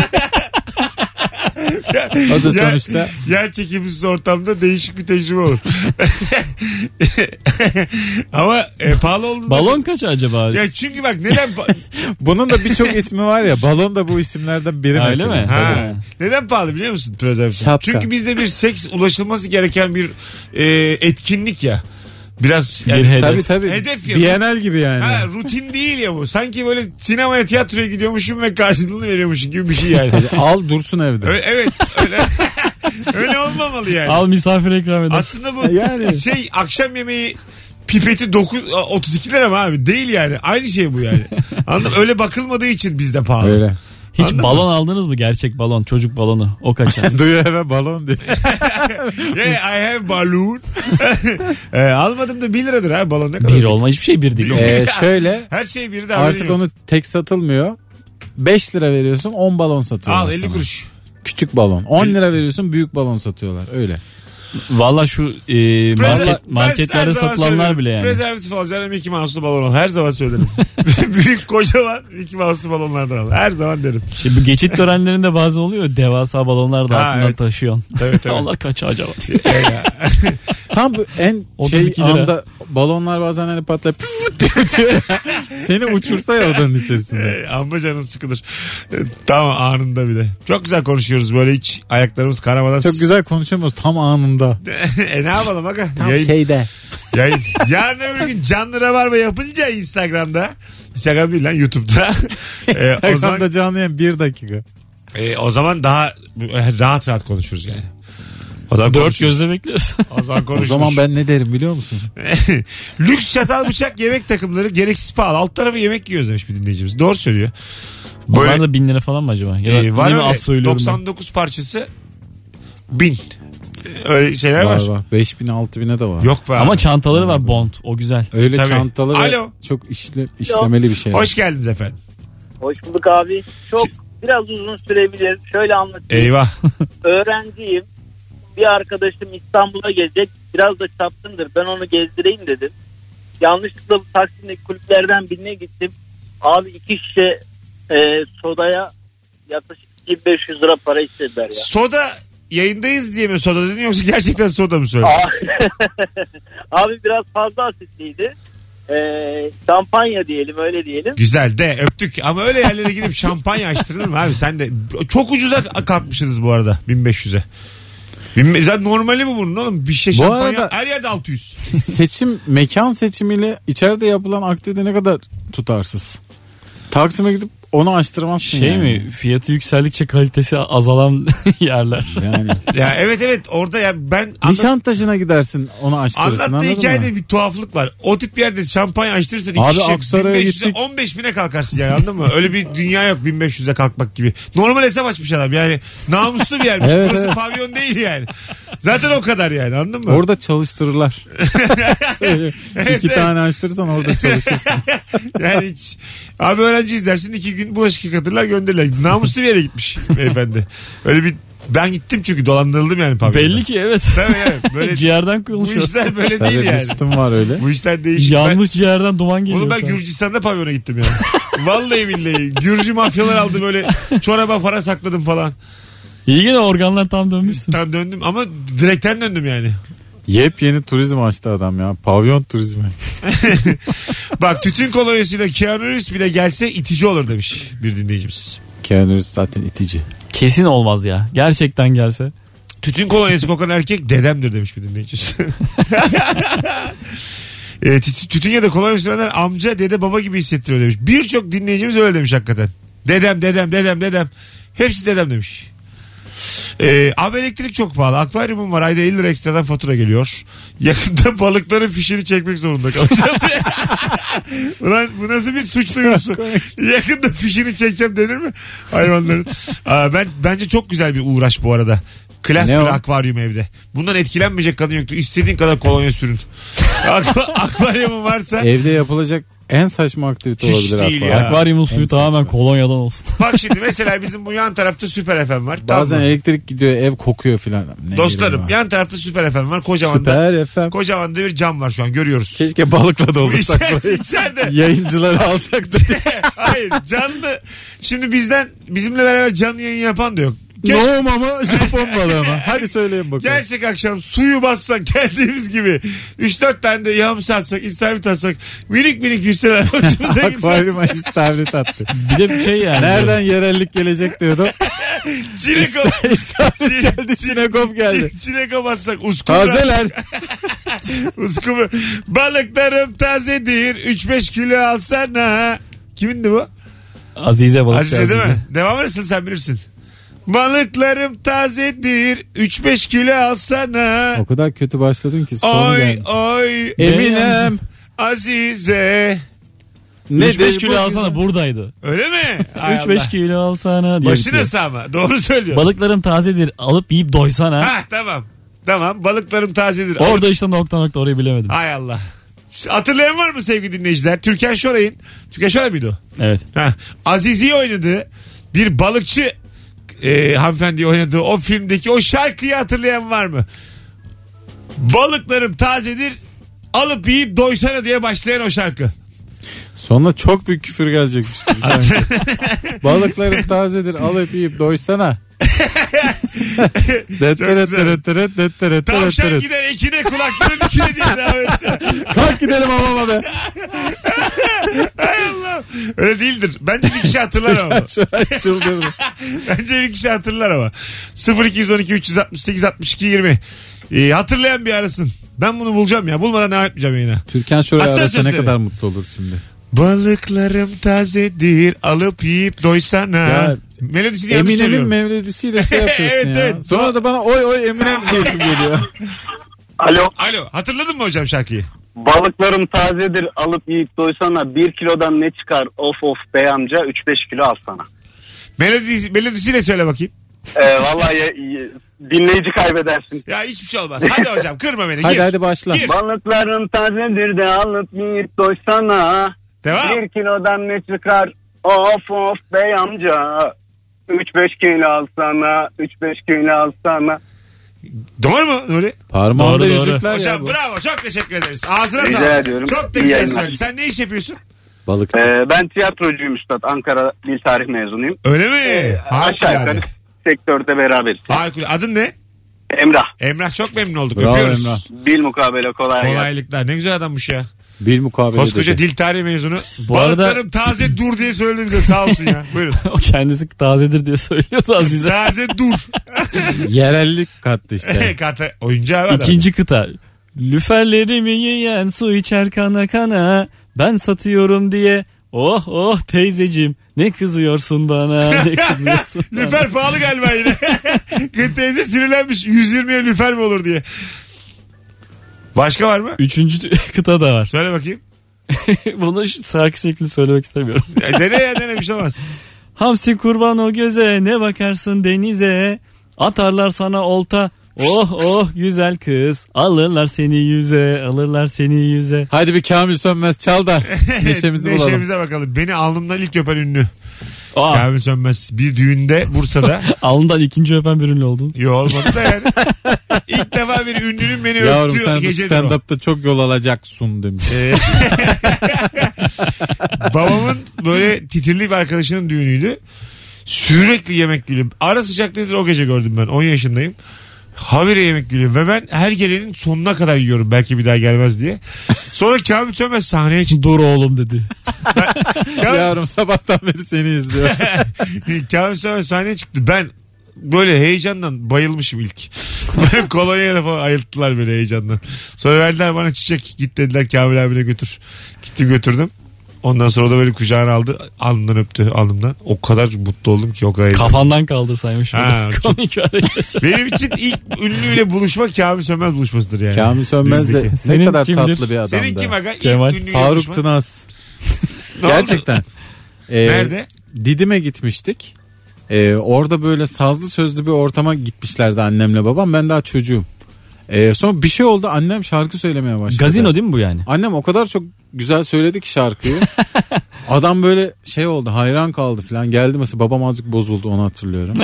Speaker 3: O da
Speaker 2: Yer-
Speaker 3: sonuçta
Speaker 2: Yer çekimsiz ortamda değişik bir tecrübe olur. Ama e, pahalı olduğunda...
Speaker 4: Balon kaç acaba?
Speaker 2: Ya çünkü bak neden pa-
Speaker 3: bunun da birçok ismi var ya. Balon da bu isimlerden biri
Speaker 4: Öyle
Speaker 3: mesela.
Speaker 4: mi?
Speaker 2: ha, neden pahalı biliyor musun prezervatif?
Speaker 3: Şapka.
Speaker 2: Çünkü bizde bir seks ulaşılması gereken bir e, etkinlik ya. Biraz yani,
Speaker 4: Bir hedef.
Speaker 3: Tabii tabii.
Speaker 2: Hedef ya.
Speaker 3: Bienal gibi yani.
Speaker 2: Ha, rutin değil ya bu. Sanki böyle sinemaya tiyatroya gidiyormuşum ve karşılığını veriyormuşum gibi bir şey yani.
Speaker 3: Al dursun evde.
Speaker 2: Ö- evet öyle, öyle olmamalı yani.
Speaker 4: Al misafir ikram eder.
Speaker 2: Aslında bu
Speaker 3: Yani.
Speaker 2: şey akşam yemeği pipeti 9 32 lira mı abi? Değil yani. Aynı şey bu yani. Anladın mı? Öyle bakılmadığı için bizde pahalı.
Speaker 3: Öyle.
Speaker 4: Hiç
Speaker 2: Anladın
Speaker 4: balon aldınız mı? Gerçek balon. Çocuk balonu. O kaçar.
Speaker 3: Duyu eve balon diye.
Speaker 2: Yeah, I have balloon. e, almadım da 1 liradır abi balon ne kadar.
Speaker 4: bir olma. Hiçbir şey bir değil.
Speaker 3: Ee, şöyle
Speaker 2: Her şey biri de haberin
Speaker 3: artık
Speaker 2: yok.
Speaker 3: onu tek satılmıyor. 5 lira veriyorsun 10 balon satıyorlar.
Speaker 2: Al 50
Speaker 3: sana.
Speaker 2: kuruş.
Speaker 3: Küçük balon. 10 lira veriyorsun büyük balon satıyorlar. Öyle.
Speaker 4: Valla şu e,
Speaker 2: Prezerv-
Speaker 4: market,
Speaker 2: Ben
Speaker 4: marketlerde
Speaker 2: her zaman
Speaker 4: satılanlar
Speaker 2: söylerim.
Speaker 4: bile yani.
Speaker 2: Prezervatif alacağına Mickey Mouse'lu balon al. Her zaman söylerim. Büyük kocaman Mickey Mouse'lu balonlardan al. Her zaman derim.
Speaker 4: Şimdi bu geçit törenlerinde bazen oluyor. Devasa balonlar da
Speaker 2: Ha,
Speaker 4: aklından
Speaker 2: evet.
Speaker 4: taşıyorsun.
Speaker 2: Tabii tabii.
Speaker 4: Allah kaç acaba?
Speaker 3: Tam bu en şey
Speaker 4: 32 lira.
Speaker 3: anda balonlar bazen hani patlayıp püf diye uçuyor ya. Seni uçursa ya odanın içerisinde.
Speaker 2: Ee, Amma canın sıkılır. Ee, Tamam anında bir de. Çok güzel konuşuyoruz böyle hiç ayaklarımız karamadan.
Speaker 3: Çok güzel konuşamıyoruz tam anında.
Speaker 2: e ne yapalım aga? Yayın,
Speaker 3: şeyde.
Speaker 2: yayın. Yarın öbür gün canlı rabarba yapınca Instagram'da. Instagram değil lan YouTube'da. Ee, o, zaman,
Speaker 3: Instagram'da canlı yayın 1 dakika.
Speaker 2: e, o zaman daha e, rahat rahat konuşuruz yani. O zaman
Speaker 4: Dört
Speaker 2: konuşuruz.
Speaker 4: gözle bekliyoruz.
Speaker 2: O zaman
Speaker 3: O
Speaker 2: konuşuruz.
Speaker 3: zaman ben ne derim biliyor musun?
Speaker 2: Lüks çatal bıçak yemek takımları gereksiz pahalı. Alt tarafı yemek yiyoruz demiş bir dinleyicimiz. Doğru söylüyor.
Speaker 4: Bunlar da bin lira falan mı acaba? Ya da
Speaker 2: Ee, var
Speaker 4: yine
Speaker 2: öyle
Speaker 4: az söylüyorum
Speaker 2: 99 parçası 1000. Öyle şeyler var.
Speaker 3: Var var. 5000 6000'e de var.
Speaker 2: Yok be
Speaker 4: ben.
Speaker 2: abi.
Speaker 4: Ama çantaları var Bond. O güzel.
Speaker 3: Öyle
Speaker 2: Tabii.
Speaker 3: çantalı ve
Speaker 2: Alo.
Speaker 3: çok işle, işlemeli bir şey.
Speaker 2: Hoş geldiniz efendim.
Speaker 9: Hoş bulduk abi. Çok biraz uzun sürebilir. Şöyle anlatayım.
Speaker 2: Eyvah.
Speaker 9: Öğrenciyim. Bir arkadaşım İstanbul'a gelecek. Biraz da çapkındır. Ben onu gezdireyim dedim. Yanlışlıkla bu Taksim'deki kulüplerden birine gittim. Abi iki şişe e, sodaya yaklaşık 1500 lira para istediler ya.
Speaker 2: soda yayındayız diye mi soda dedin yoksa gerçekten soda mı söyledin?
Speaker 9: Abi biraz fazla asitliydi. E, şampanya diyelim öyle diyelim.
Speaker 2: Güzel de öptük ama öyle yerlere gidip şampanya açtırılır mı abi sen de çok ucuza kalkmışsınız bu arada 1500'e. Bin- Zaten normali mi bunun oğlum? Bir şey
Speaker 3: Bu
Speaker 2: şampanya
Speaker 3: arada-
Speaker 2: her yerde 600.
Speaker 3: Seçim, mekan seçimiyle içeride yapılan aktivite ne kadar tutarsız. Taksim'e gidip onu açtırmazsın
Speaker 4: Şey
Speaker 3: yani.
Speaker 4: mi? Fiyatı yükseldikçe kalitesi azalan yerler.
Speaker 3: Yani.
Speaker 2: Ya evet evet orada ya ben anlat,
Speaker 3: Nişantaşı'na gidersin onu açtırırsın
Speaker 2: anlattığı
Speaker 3: anladın
Speaker 2: hikayede
Speaker 3: mı?
Speaker 2: bir tuhaflık var. O tip bir yerde şampanya açtırırsan iki
Speaker 3: Abi
Speaker 2: şişe
Speaker 3: Aksaray'a
Speaker 2: 1500'e
Speaker 3: gittik.
Speaker 2: 15 bine kalkarsın yani anladın mı? Öyle bir dünya yok 1500'e kalkmak gibi. Normal hesap açmış adam yani namuslu bir yermiş.
Speaker 3: Evet,
Speaker 2: Burası
Speaker 3: evet.
Speaker 2: pavyon değil yani. Zaten o kadar yani anladın mı?
Speaker 3: Orada çalıştırırlar. Söyle.
Speaker 2: Evet,
Speaker 3: İki
Speaker 2: evet.
Speaker 3: tane açtırırsan orada çalışırsın.
Speaker 2: Yani hiç. Abi öğrenciyiz dersin iki gün bulaşık yıkatırlar gönderirler. Namuslu bir yere gitmiş beyefendi. Öyle bir ben gittim çünkü dolandırıldım yani pavyonda.
Speaker 4: Belli ki evet.
Speaker 2: Tabii evet. Böyle,
Speaker 4: ciğerden
Speaker 2: bu
Speaker 4: kuyuluşuyor.
Speaker 2: işler böyle
Speaker 3: Tabii
Speaker 2: değil
Speaker 3: bir
Speaker 2: yani.
Speaker 3: sütun var öyle.
Speaker 2: Bu işler değişik.
Speaker 4: Yanlış ciğerden duman
Speaker 2: Ben,
Speaker 4: geliyor.
Speaker 2: oğlum ben
Speaker 4: şu an.
Speaker 2: Gürcistan'da pavyona gittim yani. Vallahi billahi. Gürcü mafyalar aldı böyle çoraba para sakladım falan.
Speaker 4: İyi gene organlar tam dönmüşsün.
Speaker 2: Tam döndüm ama direkten döndüm yani.
Speaker 3: Yepyeni turizm açtı adam ya. Pavyon turizmi.
Speaker 2: Bak tütün kolonyasıyla Keanu Reeves bile gelse itici olur demiş bir dinleyicimiz.
Speaker 3: Keanu Reeves zaten itici.
Speaker 4: Kesin olmaz ya. Gerçekten gelse.
Speaker 2: Tütün kolonyası kokan erkek dedemdir demiş bir dinleyicimiz. e, tü- tütün ya da kolonya sürenler amca dede baba gibi hissettiriyor demiş. Birçok dinleyicimiz öyle demiş hakikaten. Dedem dedem dedem dedem. Hepsi dedem demiş. E, abi elektrik çok pahalı. Akvaryumum var. Ayda 50 lira ekstradan fatura geliyor. Yakında balıkların fişini çekmek zorunda kalacağım. Ulan bu nasıl bir suç duyurusu? Yakında fişini çekeceğim denir mi? Hayvanların. Aa, ben Bence çok güzel bir uğraş bu arada. Klas
Speaker 3: Ne
Speaker 2: bir
Speaker 3: o?
Speaker 2: akvaryum evde. Bundan etkilenmeyecek kadın yoktu. İstediğin kadar kolonya sürün. Ak- akvaryumun varsa
Speaker 3: Evde yapılacak en saçma aktivite
Speaker 2: Hiç
Speaker 3: olabilir.
Speaker 2: değil
Speaker 3: akvaryum.
Speaker 2: ya.
Speaker 4: Akvaryumun suyu
Speaker 3: saçma.
Speaker 4: tamamen kolonyadan olsun.
Speaker 2: bak şimdi mesela bizim bu yan tarafta Süper FM var. Tamam
Speaker 3: Bazen
Speaker 2: mı?
Speaker 3: elektrik gidiyor ev kokuyor filan. Ne
Speaker 2: Dostlarım
Speaker 3: bileyim
Speaker 2: yan tarafta Süper FM var.
Speaker 3: ben.
Speaker 2: Kocaman da,
Speaker 3: Süper Şey, efem.
Speaker 2: kocaman da bir cam var şu an görüyoruz.
Speaker 3: Keşke balıkla doldursak
Speaker 2: İçeride,
Speaker 3: burayı.
Speaker 2: içeride.
Speaker 3: Yayıncıları alsak da.
Speaker 2: Hayır canlı. Şimdi bizden bizimle beraber canlı yayın yapan da yok.
Speaker 3: Nohum ama Japon balığı ama. Hadi söyleyin bakalım.
Speaker 2: Gelsek akşam suyu bassak geldiğimiz gibi 3-4 tane de yams atsak, istavrit atsak minik minik yükseler hoşumuza gitsin.
Speaker 3: Akvaryuma istavrit attı.
Speaker 4: Bir de bir şey yani.
Speaker 3: Nereden yerellik gelecek diyordu.
Speaker 2: Çilek o-
Speaker 3: İstavrit geldi, sinekop geldi.
Speaker 2: Çi- Çilek atsak uskubra.
Speaker 3: Tazeler.
Speaker 2: uskubra. Balıklarım tazedir 3-5 kilo alsana. Kimindi bu?
Speaker 4: Azize balıkçı
Speaker 2: Azize
Speaker 4: Azize.
Speaker 2: değil mi? Devam edersin sen bilirsin. Balıklarım tazedir 3-5 kilo alsana.
Speaker 3: O kadar kötü başladın ki sonu
Speaker 2: Oy
Speaker 3: geldi.
Speaker 2: oy
Speaker 3: Eminem
Speaker 2: Azize.
Speaker 3: ne
Speaker 4: 3-5 kilo alsana buradaydı.
Speaker 2: Öyle mi? Hay
Speaker 4: 3-5
Speaker 2: Allah.
Speaker 4: kilo alsana diye
Speaker 2: Başına
Speaker 4: bitiyor.
Speaker 2: sağma. Doğru söylüyor.
Speaker 4: Balıklarım tazedir alıp yiyip doysana.
Speaker 2: Ha tamam. Tamam balıklarım tazedir.
Speaker 4: Orada işte nokta nokta orayı bilemedim.
Speaker 2: Hay Allah. Hatırlayan var mı sevgili dinleyiciler? Türkan Şoray'ın. Türkan Şoray mıydı o?
Speaker 4: Evet.
Speaker 2: Ha, Azizi oynadığı bir balıkçı e, hanımefendi oynadığı o filmdeki o şarkıyı hatırlayan var mı? Balıklarım tazedir alıp yiyip doysana diye başlayan o şarkı.
Speaker 3: Sonra çok büyük küfür gelecekmiş gibi sanki. Balıklarım tazedir alıp yiyip doysana. Detteret
Speaker 2: güzel.
Speaker 3: deret deret deret deret
Speaker 2: Tavşan
Speaker 3: deret.
Speaker 2: gider ekine kulakların içine diye devam etsin.
Speaker 3: Kalk gidelim hamama be.
Speaker 2: Hay Allah. Öyle değildir. Bence bir kişi hatırlar ama.
Speaker 3: Şuray çıldırdı.
Speaker 2: Bence bir kişi hatırlar ama. 0212 368 62 20. Ee, hatırlayan bir arasın. Ben bunu bulacağım ya. Bulmadan devam etmeyeceğim yine.
Speaker 3: Türkan Şoray
Speaker 2: Açsana
Speaker 3: arasa ne
Speaker 2: sözleri.
Speaker 3: kadar mutlu olur şimdi.
Speaker 2: Balıklarım tazedir alıp yiyip doysana.
Speaker 3: Ya,
Speaker 2: Melodisini yanlış
Speaker 3: Eminem'in
Speaker 2: söylüyorum.
Speaker 3: mevlidisiyle şey yapıyorsun
Speaker 2: Evet,
Speaker 3: ya.
Speaker 2: evet.
Speaker 3: Sonra da bana oy oy Eminem diyorsun geliyor.
Speaker 6: Alo
Speaker 2: Alo hatırladın mı hocam şarkıyı?
Speaker 6: balıklarım tazedir alıp yiyip doysana bir kilodan ne çıkar of of bey amca 3-5 kilo al sana.
Speaker 2: Melodisi, melodisiyle söyle bakayım.
Speaker 6: Ee, vallahi ya- y- dinleyici kaybedersin.
Speaker 2: Ya hiçbir şey olmaz. Hadi hocam kırma beni.
Speaker 3: hadi
Speaker 2: Gir.
Speaker 3: hadi başla.
Speaker 2: Gir.
Speaker 6: Balıkların tazedir de alıp yiyip doysana.
Speaker 2: Devam.
Speaker 6: Bir kilodan ne çıkar? Of of bey amca. 3-5 kilo alsana. 3-5 kilo alsana.
Speaker 2: Doğru mu Nuri?
Speaker 3: Parmağında
Speaker 4: Doğru, doğru.
Speaker 3: yüzükler ya
Speaker 2: Hocam
Speaker 3: bu.
Speaker 2: bravo çok teşekkür ederiz. Ağzına
Speaker 6: Rica
Speaker 2: sağlık.
Speaker 6: ediyorum.
Speaker 2: Çok da
Speaker 6: İyi
Speaker 2: güzel
Speaker 6: yayınlar.
Speaker 2: söyledin. Sen ne iş yapıyorsun?
Speaker 3: Balıkçı.
Speaker 6: Ee, ben tiyatrocuyum üstad. Ankara Dil Tarih mezunuyum.
Speaker 2: Öyle mi?
Speaker 6: Ee, Aşağı
Speaker 2: Harikulade.
Speaker 6: yukarı sektörde beraberiz.
Speaker 2: Harikulade. Adın ne?
Speaker 6: Emrah.
Speaker 2: Emrah çok memnun olduk.
Speaker 3: Bravo
Speaker 2: Öpüyoruz.
Speaker 3: Emrah.
Speaker 6: Bil mukabele kolay gelsin.
Speaker 2: Kolaylıklar. Ne güzel adammış ya.
Speaker 3: Bir mukabele
Speaker 2: Koskoca
Speaker 3: dedi.
Speaker 2: dil tarihi mezunu.
Speaker 4: Bu arada-
Speaker 2: Balıklarım taze dur diye söyledi bize sağ olsun ya. Buyurun.
Speaker 4: o kendisi tazedir diye söylüyordu Azize.
Speaker 2: Taze dur.
Speaker 3: Yerellik kattı işte.
Speaker 2: Kata oyuncağı var adam.
Speaker 4: İkinci kıta. Lüferlerimi yiyen su içer kana kana. Ben satıyorum diye. Oh oh teyzecim ne kızıyorsun bana ne kızıyorsun bana.
Speaker 2: Lüfer pahalı galiba yine. Kız teyze sinirlenmiş. 120'ye lüfer mi olur diye. Başka var mı?
Speaker 4: Üçüncü kıta da var.
Speaker 2: Söyle bakayım.
Speaker 4: Bunu şu şarkı şekli söylemek istemiyorum.
Speaker 2: Ya dene ya dene bir şey olmaz.
Speaker 4: Hamsi kurban o göze ne bakarsın denize. Atarlar sana olta. Oh oh güzel kız. Alırlar seni yüze alırlar seni yüze.
Speaker 3: Hadi bir Kamil Sönmez çal da neşemizi bulalım.
Speaker 2: Neşemize bakalım. Beni alnımdan ilk öpen ünlü.
Speaker 4: Aa,
Speaker 2: Kamil Sönmez bir düğünde Bursa'da.
Speaker 4: alnından ikinci öpen bir ünlü oldun.
Speaker 2: Yo olmadı da yani. İlk defa bir ünlünün beni
Speaker 3: Yavrum
Speaker 2: öptüğü
Speaker 3: sen bu
Speaker 2: gecedir o.
Speaker 3: stand-up'ta çok yol alacaksın demiş.
Speaker 2: Ee, babamın böyle titirli bir arkadaşının düğünüydü. Sürekli yemek gülüyor. Ara sıcak nedir o gece gördüm ben. 10 yaşındayım. Habire yemek gülüyor. Ve ben her gelenin sonuna kadar yiyorum. Belki bir daha gelmez diye. Sonra Kamil Sönmez sahneye çıktı.
Speaker 4: Dur oğlum dedi.
Speaker 2: Kamil,
Speaker 3: Yavrum sabahtan beri seni izliyor.
Speaker 2: Kamil Sönmez sahneye çıktı. Ben böyle heyecandan bayılmışım ilk. Böyle kolonyayla falan ayılttılar beni heyecandan. Sonra verdiler bana çiçek. Git dediler Kamil abine götür. Gittim götürdüm. Ondan sonra o da beni kucağına aldı. Alnından öptü alnımdan. O kadar mutlu oldum ki o kadar. heyecanlı.
Speaker 4: Kafandan kaldırsaymış.
Speaker 2: Ha,
Speaker 4: bunu. Komik hareket.
Speaker 2: Benim için ilk ünlüyle buluşma Kamil Sönmez buluşmasıdır yani.
Speaker 3: Kamil Sönmez de
Speaker 2: Bizdeki.
Speaker 3: ne
Speaker 4: Senin
Speaker 3: kadar
Speaker 4: kimdir?
Speaker 3: tatlı bir adam
Speaker 2: Senin kim aga? İlk
Speaker 4: Kemal,
Speaker 2: ünlüyle
Speaker 3: Faruk
Speaker 2: buluşma.
Speaker 3: Tınaz.
Speaker 2: Ne oldu?
Speaker 3: Gerçekten. Ee,
Speaker 2: Nerede?
Speaker 3: Didim'e gitmiştik. Ee, orada böyle sazlı sözlü bir ortama gitmişlerdi annemle babam. Ben daha çocuğum. Ee, sonra bir şey oldu annem şarkı söylemeye başladı.
Speaker 4: Gazino değil mi bu yani?
Speaker 3: Annem o kadar çok güzel söyledi ki şarkıyı. Adam böyle şey oldu hayran kaldı falan. Geldi mesela babam azıcık bozuldu onu hatırlıyorum.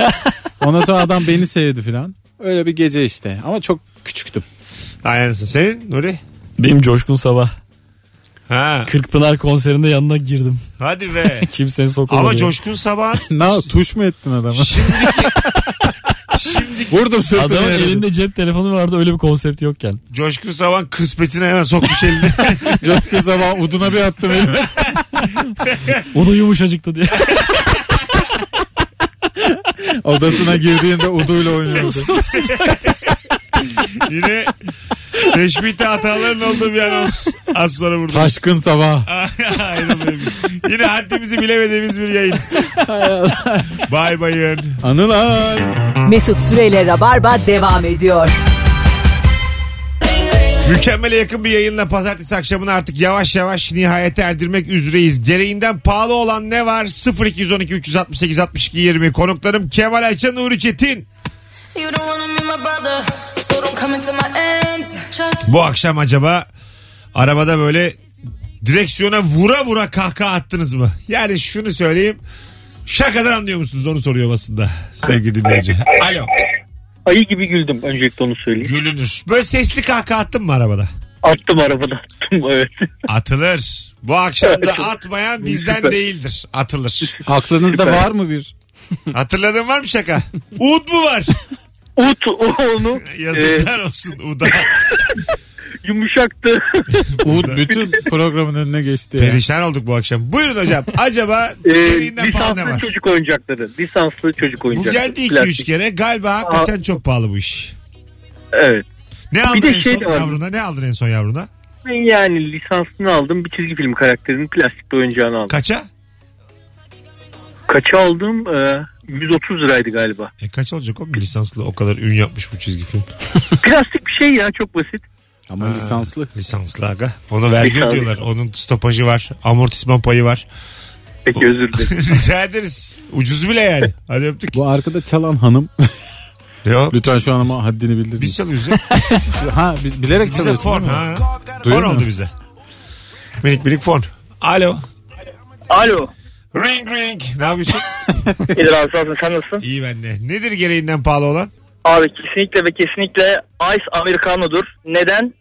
Speaker 3: Ondan sonra adam beni sevdi falan. Öyle bir gece işte ama çok küçüktüm.
Speaker 2: Aynısı. Senin Nuri?
Speaker 4: Benim Coşkun Sabah.
Speaker 2: Ha.
Speaker 4: Kırkpınar konserinde yanına girdim.
Speaker 2: Hadi be.
Speaker 4: Kimsenin sokamadı.
Speaker 2: Ama
Speaker 4: ya.
Speaker 2: Coşkun Sabah
Speaker 3: Ne tuş mu ettin adama? Vurdum sırtını.
Speaker 4: Adamın
Speaker 3: yere.
Speaker 4: elinde cep telefonu vardı öyle bir konsept yokken.
Speaker 2: Coşkun Savan kıspetine hemen sokmuş elini.
Speaker 3: Coşku zaman uduna bir attım elime.
Speaker 4: O da yumuşacıktı diye.
Speaker 3: Odasına girdiğinde uduyla oynuyordu.
Speaker 4: Nasıl sıcak?
Speaker 2: Yine teşbihte hataların olduğu bir anons. Az sonra burada.
Speaker 3: Taşkın sabah.
Speaker 2: Ayrılmayın. Yine haddimizi bilemediğimiz bir yayın. Bay bayın.
Speaker 3: Anılar.
Speaker 1: Mesut Süreyle Rabarba devam ediyor.
Speaker 2: Mükemmele yakın bir yayınla pazartesi akşamını artık yavaş yavaş nihayete erdirmek üzereyiz. Gereğinden pahalı olan ne var? 0212 368 62 20. Konuklarım Kemal Ayça Nuri Çetin.
Speaker 10: You don't wanna be my brother, so don't come into my ends. Trust.
Speaker 2: Bu akşam acaba arabada böyle direksiyona vura vura kahkaha attınız mı? Yani şunu söyleyeyim. Şakadan anlıyor musunuz onu soruyor aslında sevgili dinleyici. Alo.
Speaker 5: Ayı gibi güldüm öncelikle onu söyleyeyim.
Speaker 2: Gülünür. Böyle sesli kahkaha attın mı arabada?
Speaker 5: Attım arabada attım evet.
Speaker 2: Atılır. Bu akşam da atmayan bizden değildir. Atılır.
Speaker 3: Aklınızda var mı bir?
Speaker 2: Hatırladın var mı şaka? Ud mu var?
Speaker 5: Ut onu
Speaker 2: Yazıklar olsun Uda.
Speaker 5: yumuşaktı.
Speaker 3: Uğut bütün programın önüne geçti. Ya.
Speaker 2: Perişan olduk bu akşam. Buyurun hocam. Acaba
Speaker 5: Ee,
Speaker 2: gereğinden pahalı ne
Speaker 5: lisanslı
Speaker 2: var?
Speaker 5: çocuk oyuncakları. Lisanslı çocuk
Speaker 2: Bu
Speaker 5: oyuncakları.
Speaker 2: geldi 2-3
Speaker 5: Plastik.
Speaker 2: kere. Galiba hakikaten çok pahalı bu iş.
Speaker 5: Evet.
Speaker 2: Ne aldın
Speaker 5: de
Speaker 2: en
Speaker 5: şey
Speaker 2: son
Speaker 5: de var.
Speaker 2: yavruna? Ne aldın en son yavruna?
Speaker 5: Ben yani lisansını aldım. Bir çizgi film karakterinin plastik bir oyuncağını aldım.
Speaker 2: Kaça?
Speaker 5: Kaça aldım? Ee, 130 liraydı galiba.
Speaker 2: E kaç olacak o lisanslı o kadar ün yapmış bu çizgi film.
Speaker 5: Plastik bir şey ya çok basit.
Speaker 3: Ama lisanslı.
Speaker 2: Lisanslı aga. Ona vergi
Speaker 5: Lisanslı.
Speaker 2: ödüyorlar. Onun stopajı var. Amortisman payı var.
Speaker 5: Peki özür dilerim.
Speaker 2: Rica ederiz. Ucuz bile yani. Hadi öptük.
Speaker 3: Bu arkada çalan hanım.
Speaker 2: Yok.
Speaker 3: Lütfen şu an ama haddini
Speaker 2: Biz
Speaker 3: bildirin.
Speaker 2: çalıyoruz ya.
Speaker 3: Ha biz bilerek
Speaker 2: Bize
Speaker 3: çalıyorsun.
Speaker 2: fon
Speaker 3: değil mi?
Speaker 2: ha. Fon
Speaker 3: Duyuyor
Speaker 2: oldu
Speaker 3: musun?
Speaker 2: bize. Minik minik fon. Alo.
Speaker 5: Alo.
Speaker 2: Ring ring. Ne yapıyorsun?
Speaker 5: İdil abi sağ olsun, sen nasılsın?
Speaker 2: İyi ben de. Nedir gereğinden pahalı olan?
Speaker 5: Abi kesinlikle ve kesinlikle Ice Americano'dur. Neden?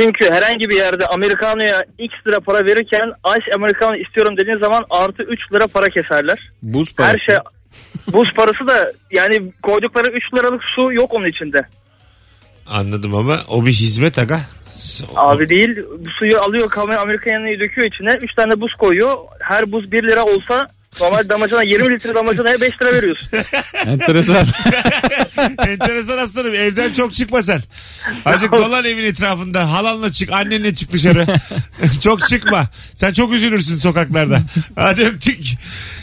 Speaker 5: Çünkü herhangi bir yerde Americano'ya X lira para verirken Ice Americano istiyorum dediğin zaman artı 3 lira para keserler.
Speaker 3: Buz parası.
Speaker 5: Her şey buz parası da yani koydukları 3 liralık su yok onun içinde.
Speaker 2: Anladım ama o bir hizmet aga.
Speaker 5: Abi değil bu suyu alıyor kamera Amerikan'ı döküyor içine 3 tane buz koyuyor. Her buz 1 lira olsa normal damacana 20 litre damacanaya 5 lira veriyorsun.
Speaker 2: şey-
Speaker 3: Enteresan.
Speaker 2: Enteresan aslanım. Evden çok çıkma sen. Azıcık dolan evin etrafında. Halanla çık, annenle çık dışarı. çok çıkma. Sen çok üzülürsün sokaklarda. Hadi öptük.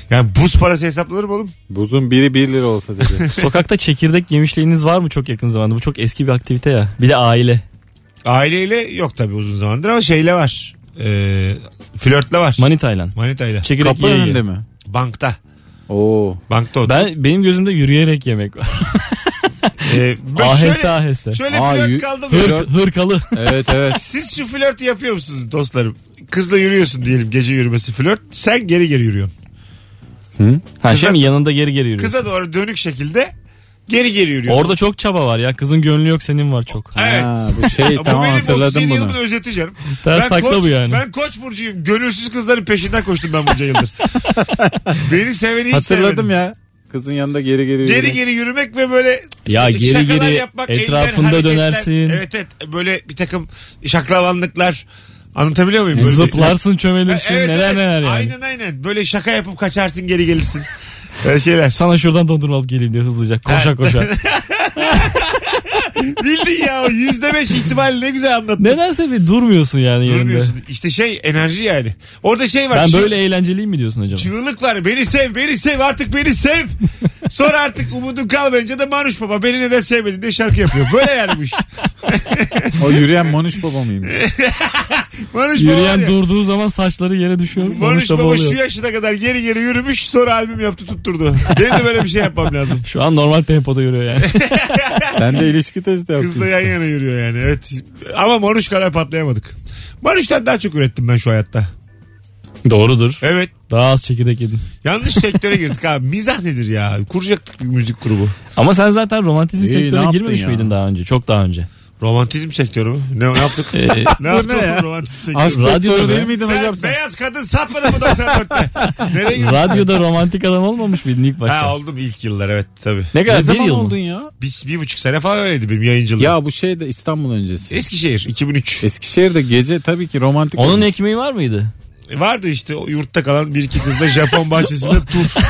Speaker 2: Yani buz parası hesaplanır mı oğlum?
Speaker 3: Buzun biri 1 lira olsa dedi.
Speaker 4: Sokakta çekirdek yemişliğiniz var mı çok yakın zamanda? Bu çok eski bir aktivite ya. Bir de aile.
Speaker 2: Aileyle yok tabii uzun zamandır ama şeyle var. Ee, flörtle var.
Speaker 4: Manitayla.
Speaker 2: Manitayla.
Speaker 4: Çekirdek
Speaker 3: Kapı
Speaker 4: yiye yiye.
Speaker 3: önünde mi?
Speaker 2: Bankta.
Speaker 3: Oo.
Speaker 2: Bankta otur.
Speaker 4: Ben benim gözümde yürüyerek yemek var.
Speaker 2: Ee, bu
Speaker 4: aheste
Speaker 2: şöyle,
Speaker 4: aheste.
Speaker 2: şöyle
Speaker 3: Aa,
Speaker 2: flört
Speaker 3: yü-
Speaker 2: kaldı mı?
Speaker 4: Hır, hırkalı.
Speaker 3: Evet evet.
Speaker 2: Siz şu flörtü yapıyor musunuz dostlarım? Kızla yürüyorsun diyelim gece yürümesi flört. Sen geri geri yürüyorsun.
Speaker 4: Ha
Speaker 2: Kıza-
Speaker 4: şey mi yanında geri geri yürüyorsun.
Speaker 2: Kıza doğru dönük şekilde geri geri yürüyorsun.
Speaker 4: Orada çok çaba var ya. Kızın gönlü yok senin var çok.
Speaker 2: Evet.
Speaker 3: Ha, bu şey
Speaker 2: Bu
Speaker 3: tamam
Speaker 2: benim 37
Speaker 3: hatırladım bunu.
Speaker 2: yılımın özeti canım.
Speaker 4: Ters takla
Speaker 2: koç,
Speaker 4: bu yani.
Speaker 2: Ben koç burcuyum. Gönülsüz kızların peşinden koştum ben bunca yıldır. Beni seveni hiç
Speaker 3: Hatırladım
Speaker 2: sevmedim.
Speaker 3: ya. Kızın yanında geri geri
Speaker 2: Geri
Speaker 3: yürüdüm.
Speaker 2: geri yürümek ve böyle
Speaker 4: Ya geri
Speaker 2: şakalar
Speaker 4: geri
Speaker 2: eller,
Speaker 4: etrafında
Speaker 2: hareketler.
Speaker 4: dönersin.
Speaker 2: Evet evet böyle bir takım şaklavanlıklar anlatabiliyor muyum? Böyle bir- şey? E,
Speaker 4: Zıplarsın çömelirsin
Speaker 2: Evet,
Speaker 4: neler
Speaker 2: evet.
Speaker 4: neler yani.
Speaker 2: Aynen aynen böyle şaka yapıp kaçarsın geri gelirsin. Böyle şeyler.
Speaker 4: Sana şuradan dondurma alıp geleyim diye hızlıca koşa koşa.
Speaker 2: Bildin ya o yüzde beş ihtimali ne güzel anlattın.
Speaker 4: Nedense bir durmuyorsun yani yerinde.
Speaker 2: Durmuyorsun. İşte şey enerji yani. Orada şey var.
Speaker 4: Ben
Speaker 2: çığ-
Speaker 4: böyle eğlenceliyim mi diyorsun acaba?
Speaker 2: Çığlık var. Beni sev, beni sev, artık beni sev. Sonra artık umudun kalmayınca da Manuş Baba beni neden sevmedin diye şarkı yapıyor. Böyle yani bu iş.
Speaker 3: O yürüyen Manuş Baba mıymış?
Speaker 2: Manuş Baba var
Speaker 4: Yürüyen
Speaker 2: ya.
Speaker 4: durduğu zaman saçları yere düşüyor.
Speaker 2: Manuş
Speaker 4: konuşta
Speaker 2: Baba şu
Speaker 4: boğuluyor.
Speaker 2: yaşına kadar geri geri yürümüş sonra albüm yaptı tutturdu. Benim de böyle bir şey yapmam lazım.
Speaker 4: Şu an normal tempoda yürüyor yani.
Speaker 3: Sen de ilişki testi yaptın.
Speaker 2: Kızla
Speaker 3: işte.
Speaker 2: yan yana yürüyor yani. Evet. Ama Manuş kadar patlayamadık. Manuş'tan daha çok ürettim ben şu hayatta.
Speaker 4: Doğrudur.
Speaker 2: Evet.
Speaker 4: Daha az çekirdek yedin.
Speaker 2: Yanlış sektöre girdik abi. Mizah nedir ya? Kuracaktık bir müzik grubu.
Speaker 4: Ama sen zaten romantizm
Speaker 3: İyi, ne
Speaker 4: sektörüne
Speaker 3: yaptın
Speaker 4: girmemiş
Speaker 3: ya?
Speaker 4: miydin daha önce? Çok daha önce.
Speaker 2: Romantizm sektörü mü? Ne, ne yaptık?
Speaker 4: Ee,
Speaker 2: ne
Speaker 3: bu
Speaker 2: yaptık
Speaker 3: ne ya?
Speaker 2: oğlum romantizm sektörü?
Speaker 3: Aşk
Speaker 4: Radyoda
Speaker 3: doktoru
Speaker 4: be.
Speaker 3: değil miydin
Speaker 2: Sen
Speaker 3: hocam sen?
Speaker 2: beyaz kadın satmadın mı 94'te? Nereye girdin?
Speaker 4: Radyoda romantik adam olmamış mıydin ilk başta?
Speaker 2: Ha oldum ilk yıllar evet tabii.
Speaker 4: ne
Speaker 3: Ne
Speaker 4: kadar bir
Speaker 3: zaman
Speaker 4: yıl mı?
Speaker 3: oldun ya?
Speaker 2: Biz bir buçuk sene falan öyleydi benim yayıncılığım.
Speaker 3: Ya bu şey de İstanbul öncesi.
Speaker 2: Eskişehir 2003.
Speaker 3: Eskişehir'de gece tabii ki romantik.
Speaker 4: Onun
Speaker 3: olmuş.
Speaker 4: ekmeği var mıydı?
Speaker 2: Vardı işte o yurtta kalan bir iki kızla Japon bahçesinde tur.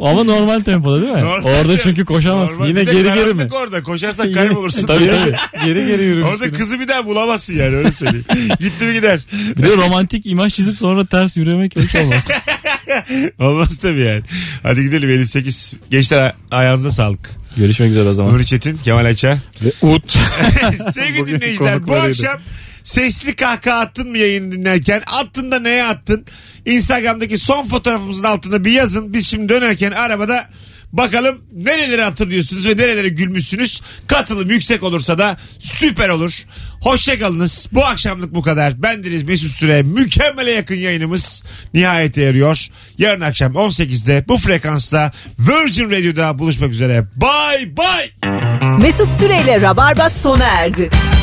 Speaker 4: Ama normal tempoda değil mi?
Speaker 2: Normal
Speaker 4: Orada
Speaker 2: tempo.
Speaker 4: çünkü koşamazsın.
Speaker 2: Normal.
Speaker 4: Yine
Speaker 2: Bir de
Speaker 4: geri geri
Speaker 2: karanlık
Speaker 4: mi?
Speaker 2: Orada koşarsak kaybolursun.
Speaker 4: Tabii tabii.
Speaker 3: geri geri yürümüş.
Speaker 2: Orada kızı bir daha bulamazsın yani öyle söyleyeyim. Gitti mi gider.
Speaker 4: Bir de romantik imaj çizip sonra ters yürümek hiç olmaz.
Speaker 2: Olmaz tabii yani. Hadi gidelim 58. Gençler a- ayağınıza sağlık.
Speaker 4: Görüşmek üzere o zaman.
Speaker 2: Nuri Çetin, Kemal Ayça.
Speaker 3: Ve ut.
Speaker 2: Sevgili
Speaker 3: Bugünkü
Speaker 2: dinleyiciler bu
Speaker 3: konuklarıydı.
Speaker 2: akşam sesli kahkaha attın mı yayını dinlerken? Attın da neye attın? Instagram'daki son fotoğrafımızın altına bir yazın. Biz şimdi dönerken arabada bakalım nereleri hatırlıyorsunuz ve nerelere gülmüşsünüz. Katılım yüksek olursa da süper olur. Hoşçakalınız. Bu akşamlık bu kadar. Bendeniz Mesut Süre. Mükemmele yakın yayınımız nihayete eriyor. Yarın akşam 18'de bu frekansta Virgin Radio'da buluşmak üzere. Bay bay.
Speaker 1: Mesut Süreyle Rabarba sona erdi.